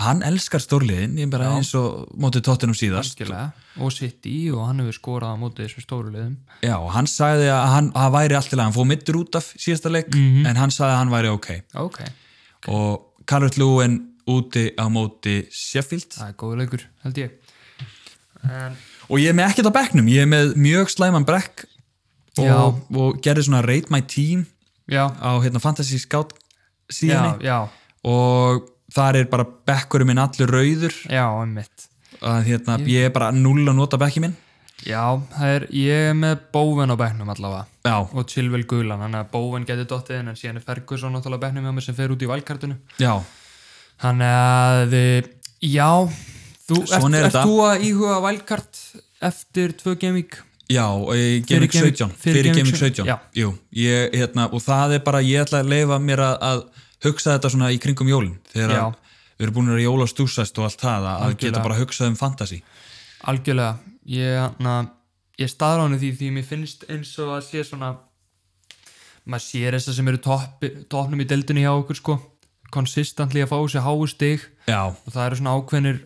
hann elskar stórliðin, ég bara eins og móti tóttinum síðast
Algjörlega. og sitt í og hann hefur skorað á móti þessum stóru liðum
Já, og hann sagði að hann, að hann væri alltaf hann fóð mittur út af síðasta leik en hann sagði að hann væri ok
Mhm. ok,
og Calvert Lúin úti á móti Sheffield
það er góð leikur held ég en,
og ég er með ekkert á bekknum, ég er með mjög slæman brekk
Já.
og, og gerði svona rate my team
já,
á hérna, fantasy scout
já,
síðan
já,
og þar er bara bekkurinn minn allur rauður
já, einmitt
að hérna, ég er bara null að nota bekki minn
já, það er, ég er með bóven á bekknum allavega
Já,
og Chilwell Gulan, hann er bóven getið dottið inn, en síðan er Ferguson náttúrulega á bekknum hjá mér sem fer út í valkartinu
já,
Þannig að, eh, já, þú,
Svona er
ert, ert
þetta.
þú að íhuga Wildcard eftir tvö gaming?
Já, eh,
Fyrir
Gaming
Gaming-
17
fyrir
fyrir Gaming
Gaming
17
já.
Jú, ég, hérna, og það er bara ég ætla að leifa mér að, að hugsa þetta svona í kringum jólin þegar
Já.
að við erum búin að jóla stúsast og allt það að, að
Algjörlega.
geta bara að hugsa um fantasy
Algjörlega, ég, na, ég staðránu því því mér finnst eins og að sé svona maður sér þess að sem eru topp, toppnum í deildinni hjá okkur sko konsistantli að fá sér háu stig
Já,
og það eru svona ákveðnir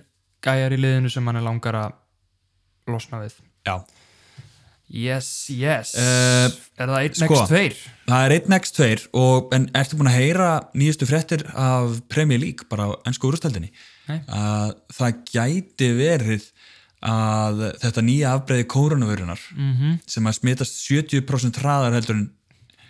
gæjar í liðinu sem hann er langar að losna við
já
Yes, yes
Eh,
Er það 1x2?
sko.
Sko.
Það er 1x2 og en ertu búin að heyra nýjustu fréttir af Premier League bara á ennsku úrstældinni
Nei.
að það gæti verið að þetta nýja afbreiði kóranavörunar -hmm.
Mhm.
sem að smitast 70% hraðar heldur en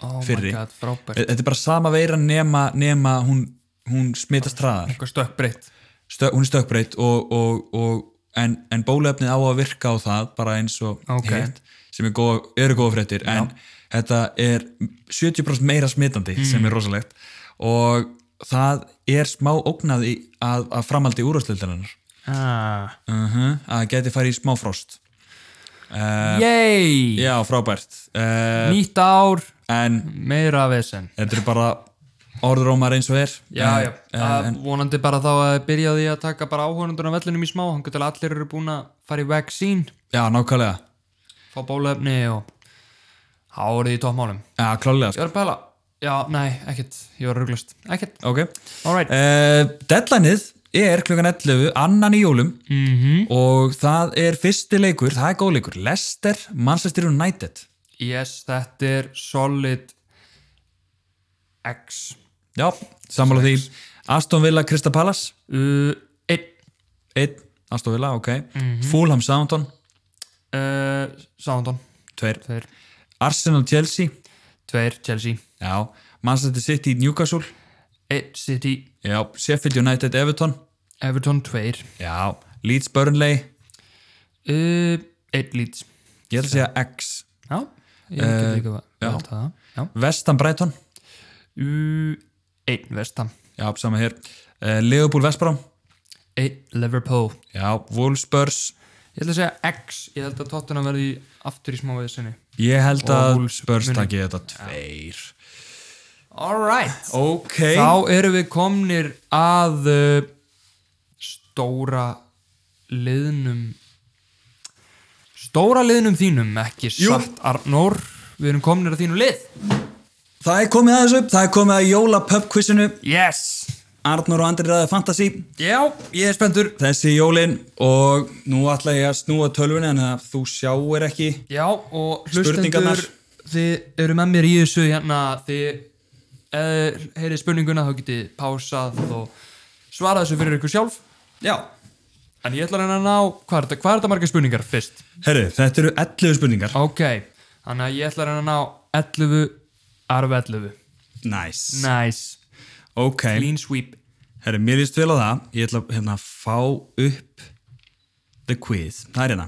Oh
Fyrri.
my god, frábært
Eh, þetta er bara sama veira nema, nema hún, hún smitast hraðar
Eitthvað stökkbreytt
Stö, hún er stökkbreytt og, og, og, en, en bólefnið á að virka á það bara eins og
Ok.
hitt sem er góð, eru góða fréttir en þetta er 70% meira smitandi
Mm.
sem er rosalegt og það er smá ógnaði að, að framaldi úrvarsleildarinnar
ah.
uh að geti farið í smá frost uh,
Yay!
já frábært uh,
Nýtt ár,
en
meira vesen
þetta er bara orðrómar eins og er
Já,
Eh,
já,
eh,
að vonandi bara þá að byrja á því að taka bara áhörundur af vellinum í smá, hangur til að allir eru búin að fara í vaccine,
já nákvæmlega
fá bólefni og hárið í toppmálum.
já klálega
Ég var að pæla, já, nei, ekkert, ég var rugglust, ekkert,
ok
alright.
Uh, deadlineið er klukkan 11 annan í jólum -hmm. og það er fyrsti leikur, það er góð leikur Leicester, Manchester United
Yes, þetta er solid X,
já, sammála því Aston Villa, Krista Palace
uh, 1,
1, Aston Villa, ok Fulham, Southampton,
uh, Soundon,
2
2,
Arsenal, Chelsea,
2, Chelsea,
já Manchester City, Newcastle,
1, City,
já Sheffield United, Everton,
Everton, 2,
já Leeds, Burnley,
uh, 1 Leeds,
ég ætla að segja X
já, ég uh, get líka
já.
velt það, já.
Vestam, Brighton,
U- Einn Vestam
já, sama hér uh, Liverpool, Vestbrom,
Einn Liverpool
já, Wolves, Spurs
Ég ætla að segja X Ég held að Tottenham verði aftur í smá veðsynni
Ég held
Og
að
Wolves
Spurs
muni-
takki þetta tveir.
Alright
Ok.
Þá erum við komnir að uh, stóra liðnum stóra liðnum þínum ekki
Jú.
satt Arnór Við erum komnir að þínum lið
Það er komið aðeins upp, það er komið að jóla pubquizinu.
Yes
Arnur og Andri ræði fantasy.
Já, ég er spenntur
Þessi jólin og nú ætla ég að snúa tölvunni en að þú sjáir ekki.
Já, og
Spurningarnar.
hlustendur þið eru með mér í þessu hérna þið eh, heyrið spurninguna þá getið pásað og svarað þessu fyrir ykkur sjálf
Já.
en ég ætla að reyna að ná, hvað er þetta, hvað er þetta marga spurningar fyrst?
Herru, þetta eru 11 spurningar.
Ok, þannig að ég ætla að reyna að ná 11 arf 11
Nice.
Nice,
Ok.
clean sweep
Herru, mér líst vel á það. Ég ætla að, hérna að fá upp the quiz. Það er hérna.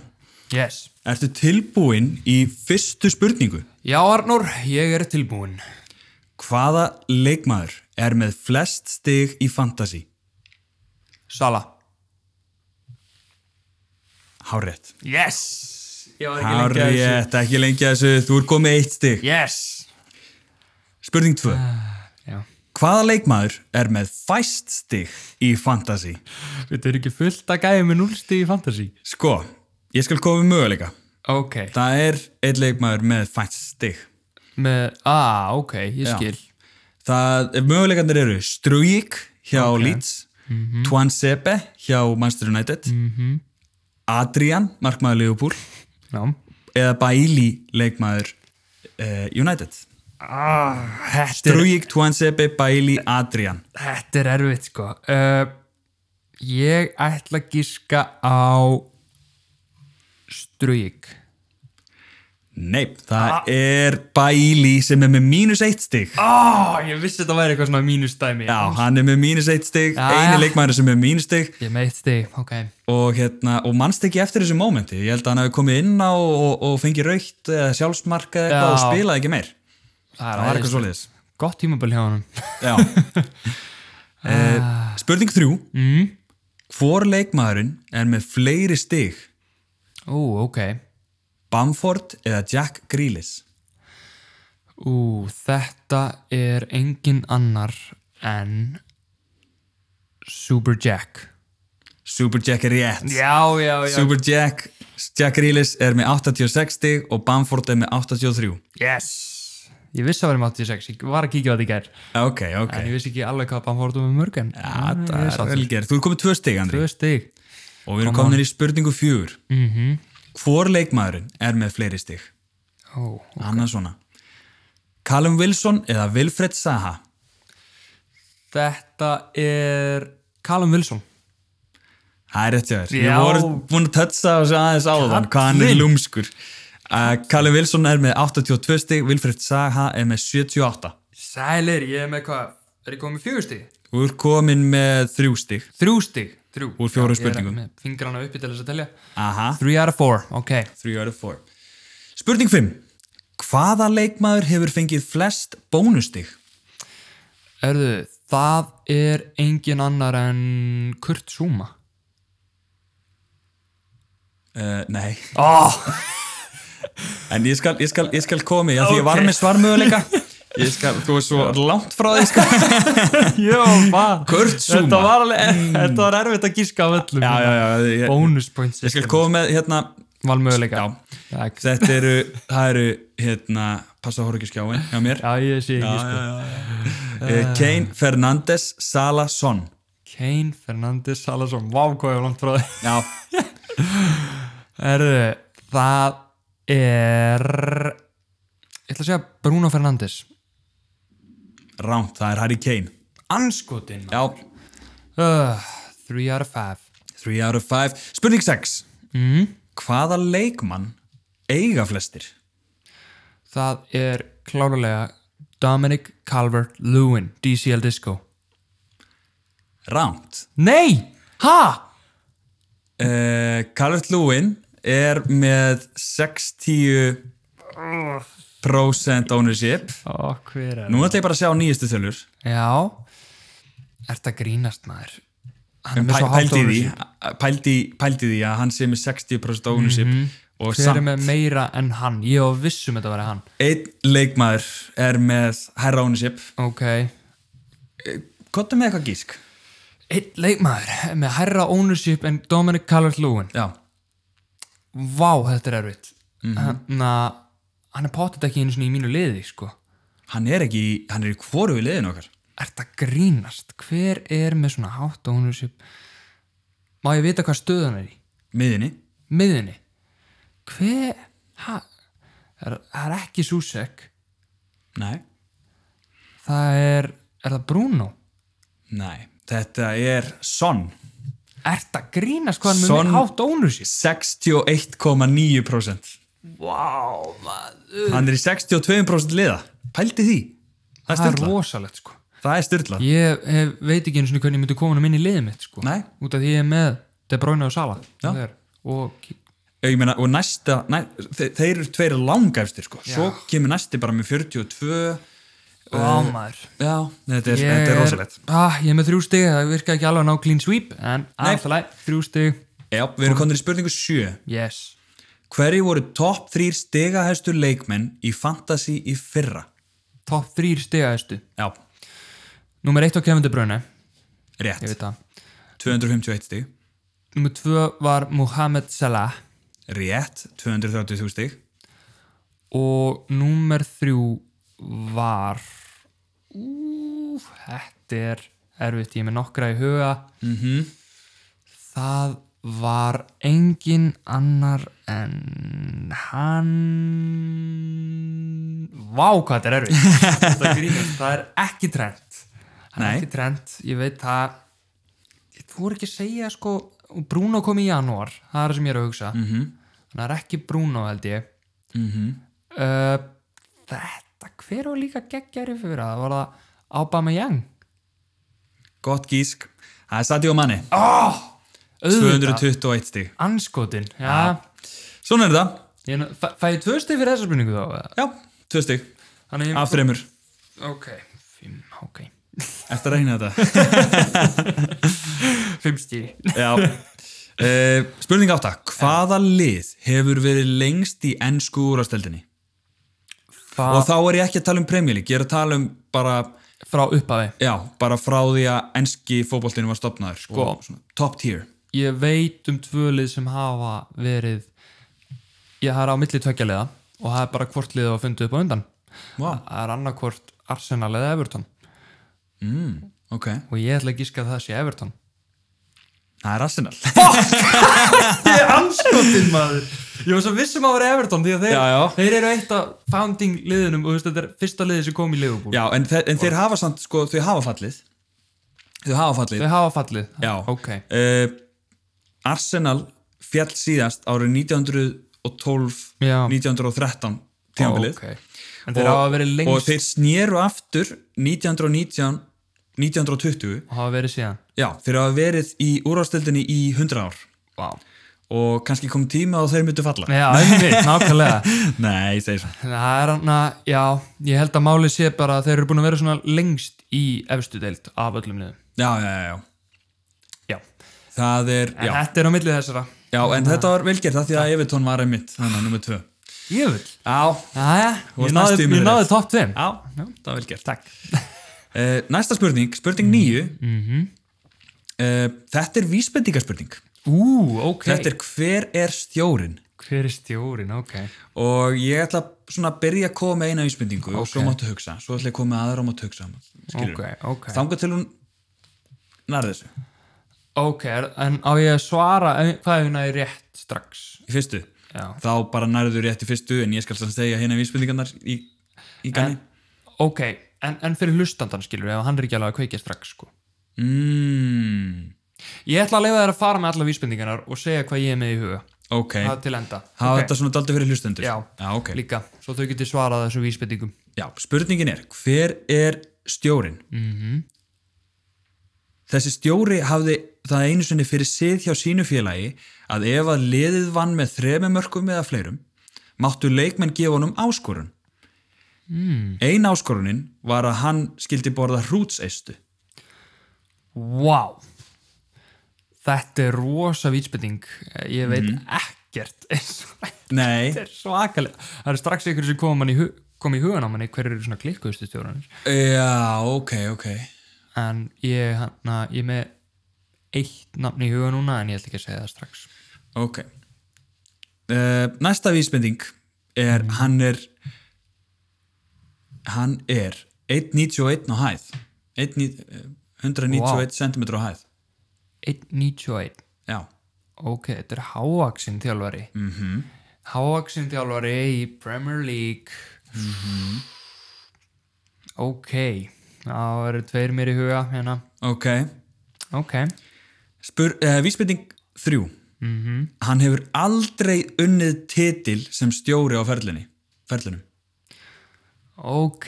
Yes
Ertu tilbúin í fyrstu spurningu?
Já Arnór, ég er tilbúin
Hvaða leikmaður er með flest stig í fantasy?
Sala
Hárétt.
Yes Ég var ekki lengi að þessu
Hárétt, ekki lengi að þessu. Þú er komið eitt stig.
Yes
Spurning 2.
Já
Hvaða leikmaður er með fæst stig í fantasy?
Þetta er ekki fullt að gæja með núlsti í fantasy
Sko, ég skal koma með möguleika.
Ok
Það er einn leikmaður með fæst stig.
Með, ah, ok, ég
Já.
skil
Það, möguleikandir eru Struik hjá Leeds,
Mhm.
Twan Sebe hjá Manchester United, Adrian, markmaður Liverpool,
Já.
eða Bailey, leikmaður uh, United.
Ah, þetta, er,
Struik, Twan Sebe, Bailey, Adrian.
þetta er erfitt sko uh, Ég ætla að gíska á Strugik
Nei, það
Ah.
er Bailey sem er með mínus eitt stig.
Ó, ég vissi þetta væri eitthvað svona mínustæmi
Já, hann er með mínus eitt stig,
Já,
eini
Ah. já.
leikmæður sem er með mínus stig
Ég er með eitt stig, ok
og, hérna, og mannst ekki eftir þessu mómenti. Ég held að hann hefði komið inn á og, og fengið raukt eða sjálfsmarka eða eitthvað
Já.
og spilaði ekki meir.
Það
Það var eitthvað svoleiðis.
(laughs) Gott tímabil hjá honum Ah.
Já. uh, Spurning þrjú mm. Hvor leikmaðurinn er með fleiri stig?
Ú, ok.
Bamford eða Jack Grealish?
Ú, þetta er engin annar en Super Jack.
Super Jack er rétt
Já, já, já.
Super Jack, Jack Grealish er með 86 stig og Bamford er með 83
Yes! Ég vissi að það var um 86, ég var að kíkja á þetta í gær.
Ah, Ok, ok
En ég vissi ekki alveg hvað Bamford var með um mörg en
Ja,
en
það
ég
er
sáttur.
vel gert. Þú er komið tvö stig, Andri.
Tvö stig.
Og við erum komin í spurningu fjögur. Mm
Mhm.
-hmm. Hvor leikmaðurinn er með fleiri stig?
Ó,
Annað svona. Callum Wilson eða Wilfred Saha?
þetta er Callum Wilson.
Það er rétt hjá þér. Við
Já.
vorum búin að tötsa þessu aðeins áðan, hvað hann er
Kallinn.
lúmskur. Uh, Callum Wilson er með 82 stig, Wilfred Saha er með 78.
Sælir, ég er með hvað? Er ég komið með fjögur stig?
Þú er komin með þrjú stig.
Þrjú stig. Þrjú.
Úr fjórum
Já, ég er
spurningum.
Með fingrana uppi til þess að telja.
Aha.
Three out of four, ok.
3 out of 4. Spurning 5. Hvaða leikmaður hefur fengið flest bónustig?
Erðu, það er engin annar en Kurt Zuma.
Uh, nei.
Oh.
En ég skal, ég skal, ég skal komi, já, því ég var
Ok.
með
(laughs)
svarmöguleika. Ég skal, þú er svo langt frá því, sko.
(laughs) Jó, hvað?
Kurt Zuma.
Þetta var, alveg, þetta var erfitt að gíska af öllum.
Mm. Já, já, já, ég,
Bonus points.
ég skal koma með, hérna,
Valmöguleika.
Já.
Takk.
þetta eru, það eru, hérna, passa að horfa ekki á skjáin hjá mér.
Já, ég sé ekki sko.
Eh, Kane Fernandes Sala Son.
Kane, Fernandes, Salazón. Vá, hvað ég var langt frá það.
Já,
Erðu, það er... Ég ætla að segja Bruno Fernandes.
rámt, það er Harry Kane.
Anskotin.
Já,
Uh, three out of five.
3 out of 5. Spurning 6. Mm. Hvaða leikmann eiga flestir?
Það er klárulega Dominic Calvert-Lewin, DCL Disco.
Rámt.
Nei! Ha?
Uh, Calvert Lewin er með 60% ownership
Ó, hver er
Nú ætla ég bara að sjá nýjustu tölur
Já. Ert að grínast maður? Hann er með
Pæ-
svo hátt
Pældi í því
ownership.
pældi, pældi í því að hann sé með 60% ownership og
Mhm. Hver er
samt
með meira en hann? Ég var vissum þetta var hann.
einn leikmaður er með herra ownership
Ok.
Kottu með eitthvað gísk
Einn leikmaður með hærra ownership en Dominic Calvert-Lewin.
Já,
Vá, þetta er erfitt.
Mhm.
Mm hann er pottet ekki einu svona í mínu liði, sko.
hann er ekki, í- hann er í hvoru við liðin okkar
Ert að grínast? Hver er með svona hátt ownership? Má ég vita hvað stöðan er í?
miðinni
miðunni hver ha, er, það er ekki Susek
Nei,
það er, er það Bruno
nei, þetta er Son
ert að grínast hvað hann er
Son-
með hátt ónur sér
61,9%
wow, maður.
Hann er í 62% liða. Pældi því. Það er
það er
styrla.
rosalegt sko
Það er styrla.
ég hef, veit ekki eins og hvernig ég myndi koma hann inn í liðið mitt sko
Nei.
út af því ég er með De Bruyne og Sala
Já.
Þeir- og
Ég meina, og næsta, næ, þe þeir eru tveir langæfstir, sko. Svo
Já.
kemur næsti bara með 42.
ámaður
Já, þetta er, þetta er rosalegt.
Eh, ah, ég er með þrjú stig, það virka ekki alveg að ná clean sweep en alltaf læg, þrjú stig
Já, við erum konur í spurningu 7.
yes,
Hverju voru topp þrýr stegahæstu leikmenn í Fantasy í fyrra?
top þrýr stigaðistu
Já,
Númer 1 var Kevin De Bruyne, ég
rétt.
veit það.
251 stig.
Númer 2 var Mohamed Salah
Rétt. 230.000 stig.
og númer 3 var... Ú, þetta er erfitt, ég er með nokkra í huga. Mm -hmm. Það var engin annar en hann... Vá, hvað þetta er erfitt. Þetta grínast, það er ekki trend. Það er
Nei.
ekki trend, ég veit það... Ég voru ekki að segja sko... og Bruno kom í janúar, það er það sem ég er að hugsa. Mm -hmm. Þannig að það er ekki Bruno held ég. Uh, þetta, hver var líka geggjari fyrir það? Var það Aubameyang?
Gott gísk. Það er Sadio Manni.
Auðvitað,
221 stig.
anskotin. Já,
Svona er þetta.
ég nú- fæ, fæ ég tvö stið fyrir þessa spurningu þá? eða?
Já, 2 stig.
Þannig,
Af þreymur.
ok, fimm, ok.
Eftir að reyna þetta
Fimm stíl
Já Uh, spurning átta, hvaða lið hefur verið lengst í ennsku úrvarsdeildinni? Og
Fa
þá er ég ekki að tala um premjölík, ég er að tala um bara,
Frá upphafi
já, bara frá því að ennski fótboltinu var stopnaður sko,
Sko.
svona top tier
Ég veit um tvölið sem hafa verið Ég har á milli tveggjaliða og það er bara hvort liðið að fundið upp á undan
Vá.
Það er annarkvort Arsenal eða Everton
Ok,
og ég ætla að gíska að það sé Everton
það er Arsenal
Ég er anskotin maður Ég var svo vissum að vera Everton því að þeir,
Já, já.
þeir eru eitt af founding liðunum og þú veist, þetta er fyrsta liðið sem kom í Liverpool
Já, en, þe en þeir hafa samt, sko, þau hafa fallið Þau hafa fallið
Þau hafa fallið
Já,
Ok
Eh, Arsenal fjall síðast árið 1912
Já.
1913 tímabilið
Ok. En þeir hafa verið lengst
og þeir snéru aftur 1919 1920
og hafa verið síðan
já, þeir hafa verið í úrvastildinni í 100 ár
Vá
og kannski kom tíma og þeir myndu falla
Já, einmitt, nákvæmlega
(laughs) nei, ég segi svo
Það er hann að, já, ég held að máli sé bara að þeir eru búin að vera svona lengst í efstu deild af öllum liðum.
já, já, já, já,
Já.
það er
En
já,
þetta er á milli þessara.
já, en þetta var velgerð það því að Evertón var einmitt þannig að nummer 2
Ég vil.
já,
Jæja,
varst
ég
næstum
náði,
í
ég náði topp 5.
já, það var velgerð
Takk.
uh, næsta spurning, spurning 9 mm
mhm.
þetta er vísbendingarspurning
Ú, ok.
þetta er hver er stjórin
Hver er stjórin, ok.
og ég ætla svona að byrja að koma með eina vísbendingu og svo máttu hugsa svo ætla ég að koma með aðra og máttu hugsa
Ok, ok.
þangað til hún nærði þessu,
Ok, er- en á ég að svara en hvað er hún að rétt strax?
í fyrstu
Já.
þá bara nærðu þú rétt í fyrstu en ég skal samt segja hérna vísbendingarnar í,
Eh?
í ganni
Ok, en, en fyrir hlustandan skilur, ef hann er ekki alveg að kveikja strax, sko.
mm,
Ég ætla að leifa þér að fara með alla vísbendingarnar og segja hvað ég er með í huga.
ok,
Það til enda.
hafa
Ok.
þetta svona daldi fyrir hlustendur
Já,
ok
líka, svo þau getur svarað þessum vísbendingum
Já, spurningin er, hver er stjórin? -hmm. Þessi stjóri hafði það einu sinni fyrir sið hjá sínu félagi að ef að liðið vann með þremur mörkum eða fleirum, máttu leikmenn gefa honum áskorun. Mm. Ein áskorunin var að hann skildi borða hrútseistu.
Vá Þetta er rosa vísbending Ég veit
Mhm.
ekkert (laughs) Þetta
Nei,
er svakalega Það eru strax ykkur sem kom, manni í hu- kom í hugan á manni hverju eru svona klikkuðustu stjóranir
já, ok, ok.
en ég, hana, ég er með eitt nafn í huga núna en ég ætla ekki að segja það strax
Ok. Uh, næsta vísbending er, hann er, hann er 1,91 á hæð. 1, eh, 191
Vá.
cm á hæð.
1.91
Já.
Ok, þetta er hávaksin þjálfari mm -hmm. Hávaksin þjálfari í Premier League Ok Það eru tveir mér í huga hérna
Ok.
Ok
Spur, uh, vísbending 3. Hann hefur aldrei unnið titil sem stjóri á ferlinni. Ferlinum.
Ok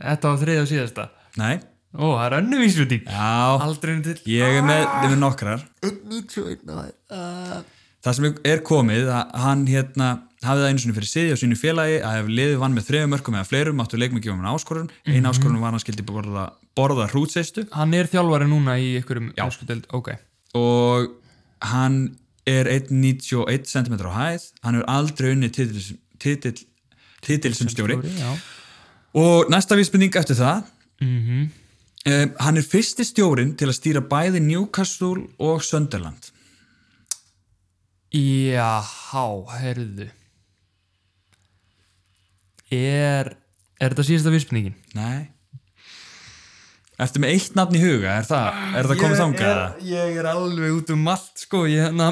Þetta var þriðja og síðasta
Nei.
Ó, það er önnu vísviti
Já.
Aldrei henni til
Ég er með, ég er með nokkrar.
1.91
Það sem er komið að hann hérna hafið það einu sinni fyrir siði á sínu félagi að ef liðið vann með þrejum mörkum eða fleirum áttu leikmenn gefa hann áskorun einu áskorun var hann skildi borða, borða hrútseistu
Hann er þjálfari núna í ykkurum öskudeld Ok
og hann er 1,91 cm á hæð hann er aldrei unni titil, titil, titil sem stjóri
Já
og næsta vísbending eftir það um, hann er fyrsti stjórin til að stýra bæði Newcastle og Sunderland
Jáhá, heyrðu Er Er þetta síðasta vísbendingin?
Nei Eftir með eitt nafn í huga, er það, er það komið þangað? eða?
Ég er, ég er alveg út um allt sko Ég, hérna,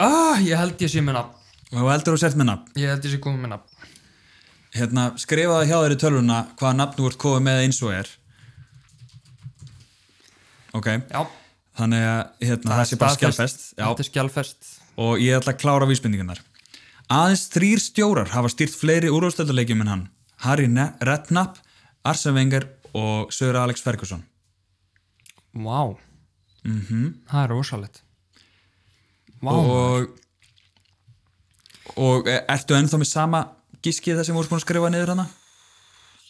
ah, ég held ég sé með nafn
Og þú heldur þú sért með nafn,
Ég held ég sé komið með nafn
hérna, skrifaði hjá þér í tölvuna hvaða nafn þú ert komið með eins og er. Ok,
Já,
þannig að hérna, það, sé bara skjálfest.
Þetta
Já,
er skjálfest
og ég ætla að klára vísbendingarnar. Aðeins þrýr stjórar hafa stýrt fleiri úrvastöldarleikjum en hann. Harry Ne- Redknapp, Arsene Wenger og Söður Alex Ferguson.
Vá Það er rosalegt Vá,
Mhm. Og, og e, ertu ennþá með sama gískið það sem voru búin að skrifa niður hana?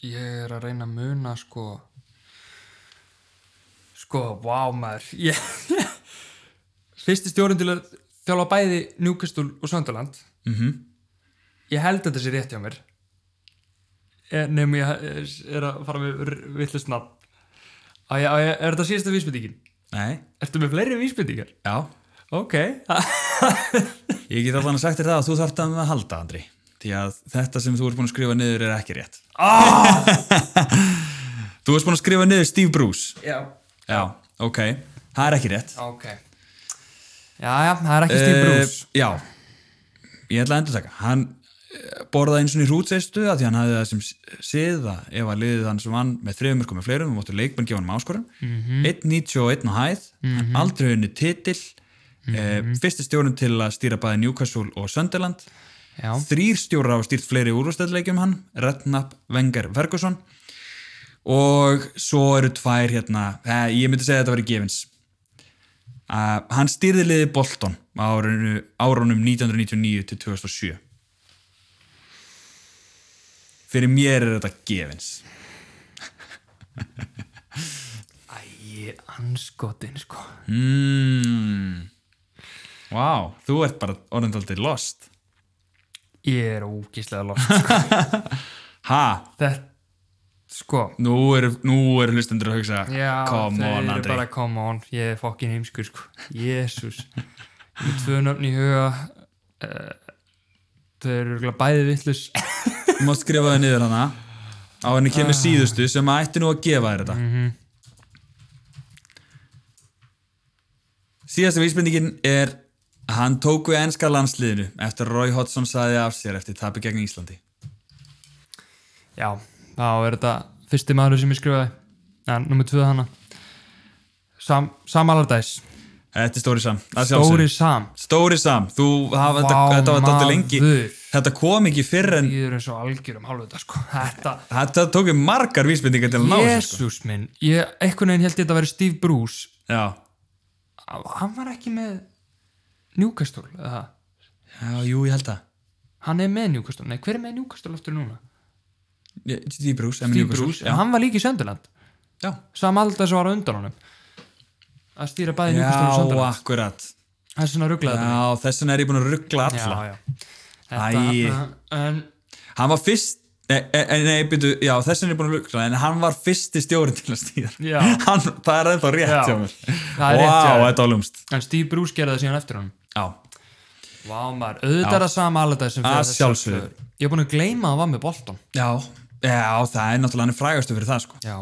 ég er að reyna að muna sko sko, vá maður ég (laughs) fyrsti stjórn til að þjálfa bæði Newcastle og Söndaland mm -hmm. ég held að þetta sé rétt hjá mér nefnum ég er að fara með vittlust nafn Á ég- á ég- er þetta síðasta vísbyndingin?
Nei,
Ertu með fleiri vísbyndingar?
já,
Ok,
ég get allan að sagt þér það að þú þarft að með að halda, Andri því að þetta sem þú ert búin að skrifa niður er ekki rétt ah! (laughs) Þú ert búin að skrifa niður Steve Bruce
já
Já, ok, það er ekki rétt
Ok Já, já, það er ekki Steve Bruce
Eh, Já, ég ætla að endur taka Hann eh, borðaði eins og í hrútseistu að því hann hafði það sem siða ef að liðið hann sem vann með þriðumörkum með fleirum og móttu leikmenn gefa hann um áskorun
Mhm.
1.91 á hæð, hann aldrei henni titill mm
Mhm.
fyrsti stjórnum til að stýra bæði Newcastle og Sunderland
Já,
þrýr stjórar hafa stýrt fleiri úrvastæðleikjum hann, Redknapp, Wenger, Ferguson og svo eru tvær hérna, eh, ég myndi segja að þetta verið gefins uh, hann stýrði liði Bolton á árinu, árunum 1999 til 2007 fyrir mér er þetta gefins
æ, anskotin sko
mm. wow, þú ert bara orðindaldið lost
Ég er ógíslega lost
(laughs)
sko.
ha,
Þetta, sko
nú eru, nú eru hlustendur að hugsa
Já,
come
þeir
on
eru
Andri
bara come on Ég er fokkin heimskur sko Jésús Með tvö nöfn í huga uh, Þau eru örugglega bæði vittlust
Þú mátt skrifa það niður hana á henni kemur
Ah.
síðustu sem að ætti nú að gefa þér þetta
Mhm.
síðasta vísbendingin er að hann tók við enska landsliðinu eftir að Roy Hodgson saði af sér eftir tapi gegn Íslandi
Já, þá er þetta fyrsti maður sem ég skrifaði ja, Númer tvö hana Sam, Sam Allardyce
þetta er Stóri Sam að
Stóri
sjálfsögðu.
Sam
Stóri Sam, þú hafa þetta,
Vá,
þetta var dætti lengi
maður.
þetta kom ekki fyrr en
Ég er eins og algjör um halvöta sko Þetta,
þetta tók við margar vísbendingar til að ná þessu sko.
jésús minn Ég, einhvern veginn held ég þetta að vera Steve Bruce
já.
Hann var ekki með Newcastle eða?
já, jú, ég held það
Hann er með Newcastle, nei hver er með Newcastle aftur núna?
Ég- Steve Bruce, Emma
Steve
Newcastle.
Bruce, en hann var líka í Sönderland
já,
Sam Aldas var á undan honum Að stýra bæði Newcastle og
já
Sönderland
akkurat
Það er svona rugglaði
Já, þess vegna er ég búinn að ruggla alla.
já, já. Þetta,
Æi.
en,
Hann var fyrst, nei, nei, nei byrju, já, þess vegna er ég búinn að ruggla, en hann var fyrsti stjórinn til að stýra.
Já.
(laughs) Hann, það er ennþá rétt
Já.
hjá mér.
Það er
Vá,
rétt hjá þér.
þetta var lumst.
en Steve Bruce gerði það síðan eftir honum
Já,
Vá maður, auðvitað er það sama Allardyce sem
Að
fer þessar
sjálfsögðu.
sögur. Ég er búin að gleyma að hann var með Bolton
já, já, það er náttúrulega hann er frægastu fyrir það, sko.
Já,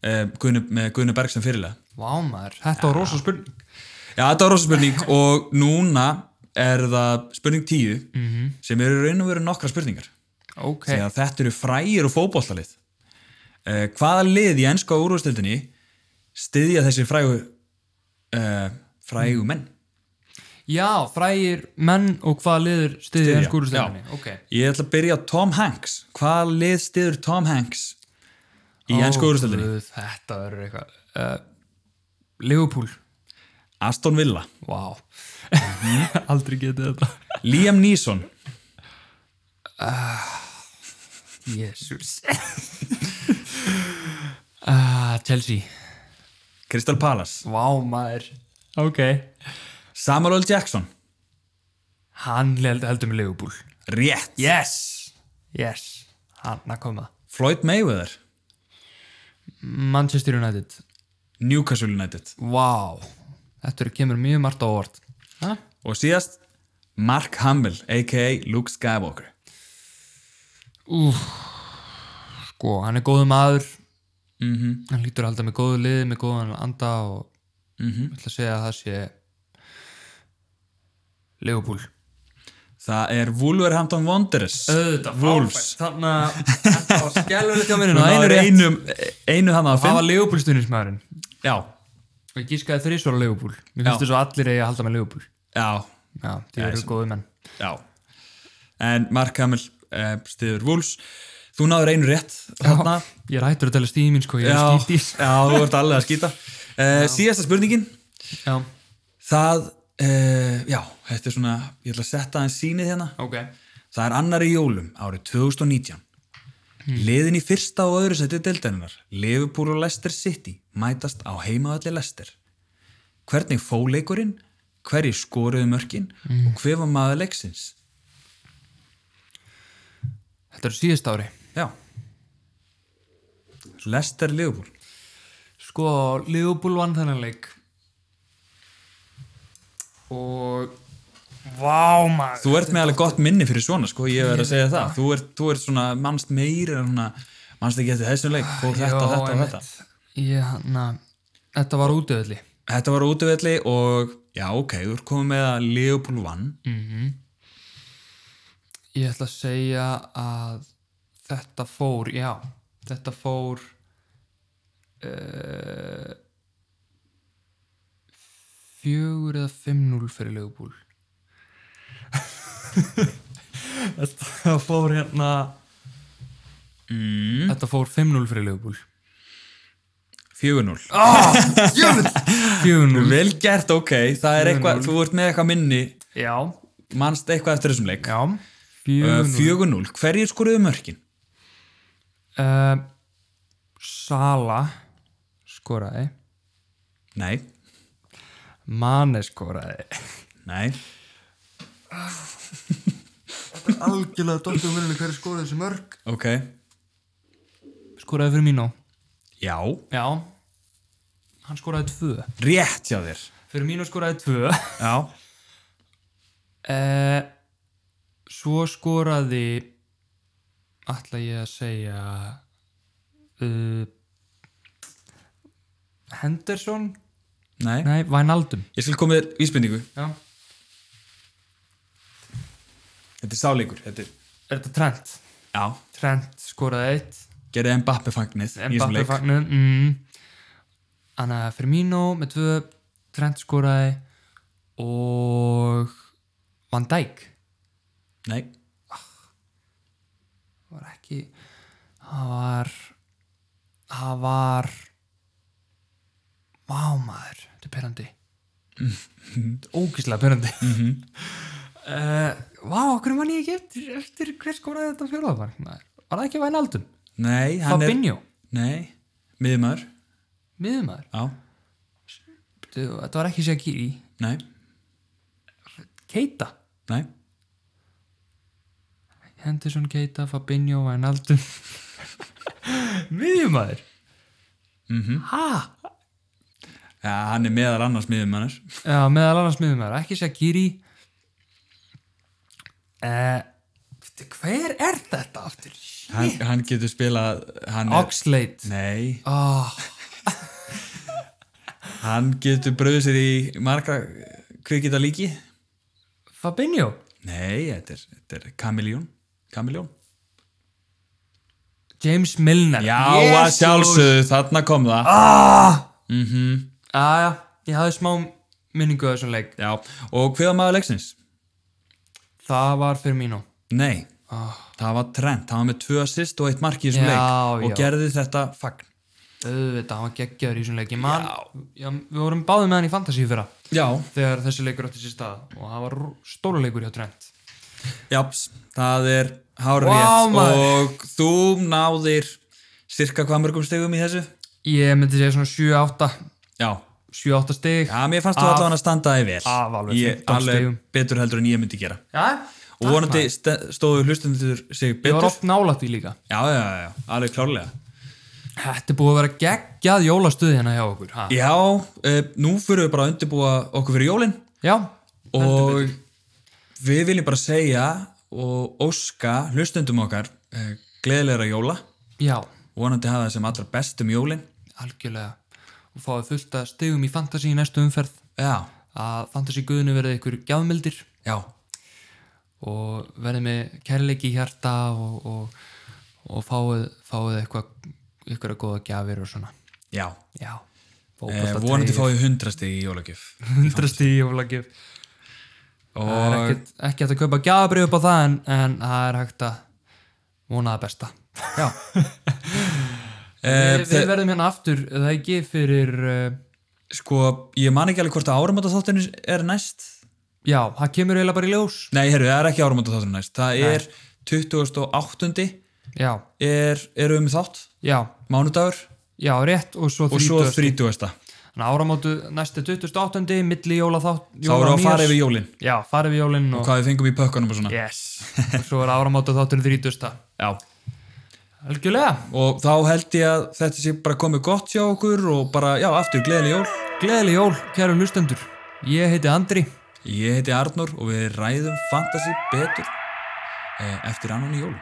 Eh, Guðni, með Guðni Berg sem fyrirlega.
vá maður, þetta var rosa spurning
Já, þetta var rosa
(laughs)
spurning og núna er það spurning 10
Mhm.
-hmm. sem eru í raun og veru nokkra spurningar.
Ok,
því að þetta eru frægir og fótbollalið uh, hvaða lið í ennska úrvastildinni styðja þessi frægu uh, frægu menn
já, frægir menn og hvaða liður stiðið
Styðja,
enn skúrustöðinni Ok,
ég ætla að byrja á Tom Hanks hvaða lið styður Tom Hanks í oh, ennska úrvastildinni
Guð, Þetta verður eitthvað uh, Liverpool,
Aston Villa,
vá Mhm. (laughs) Aldrei getið þetta
Liam Neeson
(laughs) Jésús uh, Chelsea
Crystal Palace,
Vá maður Ok
Samuel L. Jackson
Hann held, heldur með Liverpool
rétt,
Yes Yes, hann að koma
Floyd Mayweather
Manchester United
Newcastle United
Vá, þetta er- kemur mjög margt á orð Hæ?
og síðast Mark Hamill aka Luke Skywalker
sko, hann er góðu maður -hmm. hann lítur alltaf með góðu lið með góðan anda og -hmm. ætla að segja að það sé Leopold
það er Wolverhampton Wanderers
auðvitað
Wolves.
þannig að þetta var skelvilegt hjá (laughs) mér en
Þú
á einu
náður
rétt.
einu, einu hann að
það
fimm
var Leopold stuðnismæðurinn
já,
og ég gískaði þrísvara Leopold mér
Já.
finnst þess að allir eigi að halda með Leopold
já,
já, því eru góðu menn
já en Mark Hamill uh, stiður Wolves þú náður einu rétt þarna
ég er hættur að tala stíði mín sko, ég
já,
er
já,
skítið
þú ert alveg að skýta uh, síðasta spurningin
já,
það, uh, já, þetta er svona ég ætla að setja aðeins sýnið hérna
ok
það er annar í jólum árið 2019 Liðin í fyrsta og öðru sæti deildarinnar, Liverpool og Leicester City, mætast á heimaðalli Leicester. Hvernig fó leikurinn, hverji skoruðu mörkin og hver var maður leiksins?
Þetta er síðust ári.
Já. Leicester Liverpool.
Sko, Liverpool vann þennan leik. Og... Vá, maður.
Þú ert með alveg gott minni fyrir svona, sko, ég verð að segja það. Þú ert, þú ert svona mannst meiri en svona, mannst ekki eftir þessum leik, fór þetta,
Já,
þetta og
einmitt.
þetta.
Ég, na, þetta var útöðli.
Þetta var útvelli og já, ok, þú ert komið með að Leopold vann.
Mm. Ég ætla að segja að þetta fór, já, þetta fór eh, uh, 4 eða 5-0 fyrir Leopold. (laughs) þetta fór hérna, mm. þetta fór 5-0 fyrir Leopold.
4-0.
Ah. 4-0,
Vel gert, ok, það er eitthvað, þú ert með eitthvað minni,
já,
mannst eitthvað eftir þessum leik.
já,
Uh,
4-0.
4-0, hverjir skoruðu mörkin?
Uh, Sala skoraði
Nei,
Mane skoraði
nei,
Algjörlega dóttum vinnunni hverju skoraði þessi mörg
ok,
Skoraði fyrir Mino
já,
Já Hann skoraði tvö
rétt hjá þér.
Fyrir Mino skoraði tvö (laughs)
Já,
uh, Svo skoraði ætla ég að segja uh, Henderson
nei,
Nei, Vænaldum
ég skal koma með vísbendingu,
Já
þetta er sáleikur, þetta er,
Er þetta Trent?
já,
Trent skoraði eitt
gerði Mbappe fagnið í þessum
Mbappe
leik.
fagnu mm. Þannig að Firmino með tvö Trent skoraði og Van Dijk
Nei,
var ekki það var það var vámaður þetta er perandi
Mhm.
ógíslega perandi mm (laughs) -hmm. Eh, vá, okkur mann ég ekki eftir, eftir hver skoraði þetta fjólaðar var það ekki væn aldum?
nei, hann
Fabinho,
er, nei, miðumar,
miðumæður
já,
þetta var ekki Shaqiri
nei,
Keita
nei,
Henderson, Keita, Fabinho, Wijnaldum (laughs) miðjumæður
Mhm.
mm -hmm.
já, hann er meðal annars miðumannars.
já, meðal annars miðjumæður ekki Shaqiri eh, bíddu, hver er þetta aftur?
Hann, hann getur spilað, hann er,
Oxlade
nei,
oh,
Hann getur bröðið sér í margra kvikita líki.
Fabinho
Nei, þetta er, þetta er kamiljón. Kamiljón?
James Milner
Já, að
Jesus.
sjálfsögðu, þarna kom það.
Ah! já, já, ég hafði smá minningu af þessum leik
Já, og hver var maður leiksins?
það var fyrir mínu
Nei, það var Trent. Það var með tvö assist og eitt mark í þessum
Ah. Já,
leik. Og
já.
gerði þetta fagn.
auðvitað, hann var geggjaður í þessum leik Ég man, já, við vorum báðið með hann í fantasy fyrra
Já,
þegar þessi leikur átti sér stað og það var stóra leikur hjá Trent
jáps, það er hár
Vá,
rétt.
maður.
Og þú náðir cirka hvað mörgum stegum í þessu?
ég myndi segja svona 7-8
Já,
7-8 stig
já mér fannst þú allavega að standaði vel.
af alveg
Ég-
15
alveg
stigum.
Betur heldur en ég myndi gera.
já,
og vonandi st- stóðu hlustendur sig
ég var
betur
oft nálætt í líka
já, já, já, já, alveg klárlega
þetta er búið að vera geggjað jólastuð hérna hjá okkur ha?
já, uh, nú fyrir við bara að undirbúa okkur fyrir jólin
já,
og við viljum bara segja og óska hlustendum okkar uh, gleðilegra jóla
já,
vonandi hafa það sem allra bestum jólin
algjörlega og fáið fullt að stigum í fantasy í næstu umferð
já,
að fantasy guðinu verði ykkur gjafmildir
já,
og verði með kærleiki í hjarta og, og, og fáið, fáið eitthvað ykkur að góða gjafir og svona
já
já,
uh,
fótbolta
vonandi fáið hundrasti í jólagjöf
(laughs) hundrasti í jólagjöf það
og
er ekkert, ekki hægt að kaupa gjafabrið upp á það en, en það er hægt að vona það besta
já
við,
uh,
við verðum hérna aftur er það ekki fyrir uh,
sko, ég man ekki alveg hvort að áramata þáttinu er næst
já, það kemur eiginlega bara í ljós
Nei, herru, það er ekki áramóta þáttur næst. Það er 28.
já,
er, er um þátt,
já,
mánudagur
já, rétt og svo
og svo
30.
30.
Þannig að áramótu næsti 28. milli jóla þátt
Þá erum við að fara yfir jólin
Já, farið við jólinn
og
og
hvað við fengum í pökkunum og svona.
Yes, og svo er áramótu þátturinn 30.
Já.
Algjörlega,
Og þá held ég að þetta sé bara komið gott hjá okkur og bara, já, aftur gleðileg jól.
gleðileg jól, kæru hlustendur Ég heiti Andri
Ég heiti Arnur og við ræðum fantasy betur eh, eftir annan í jólum.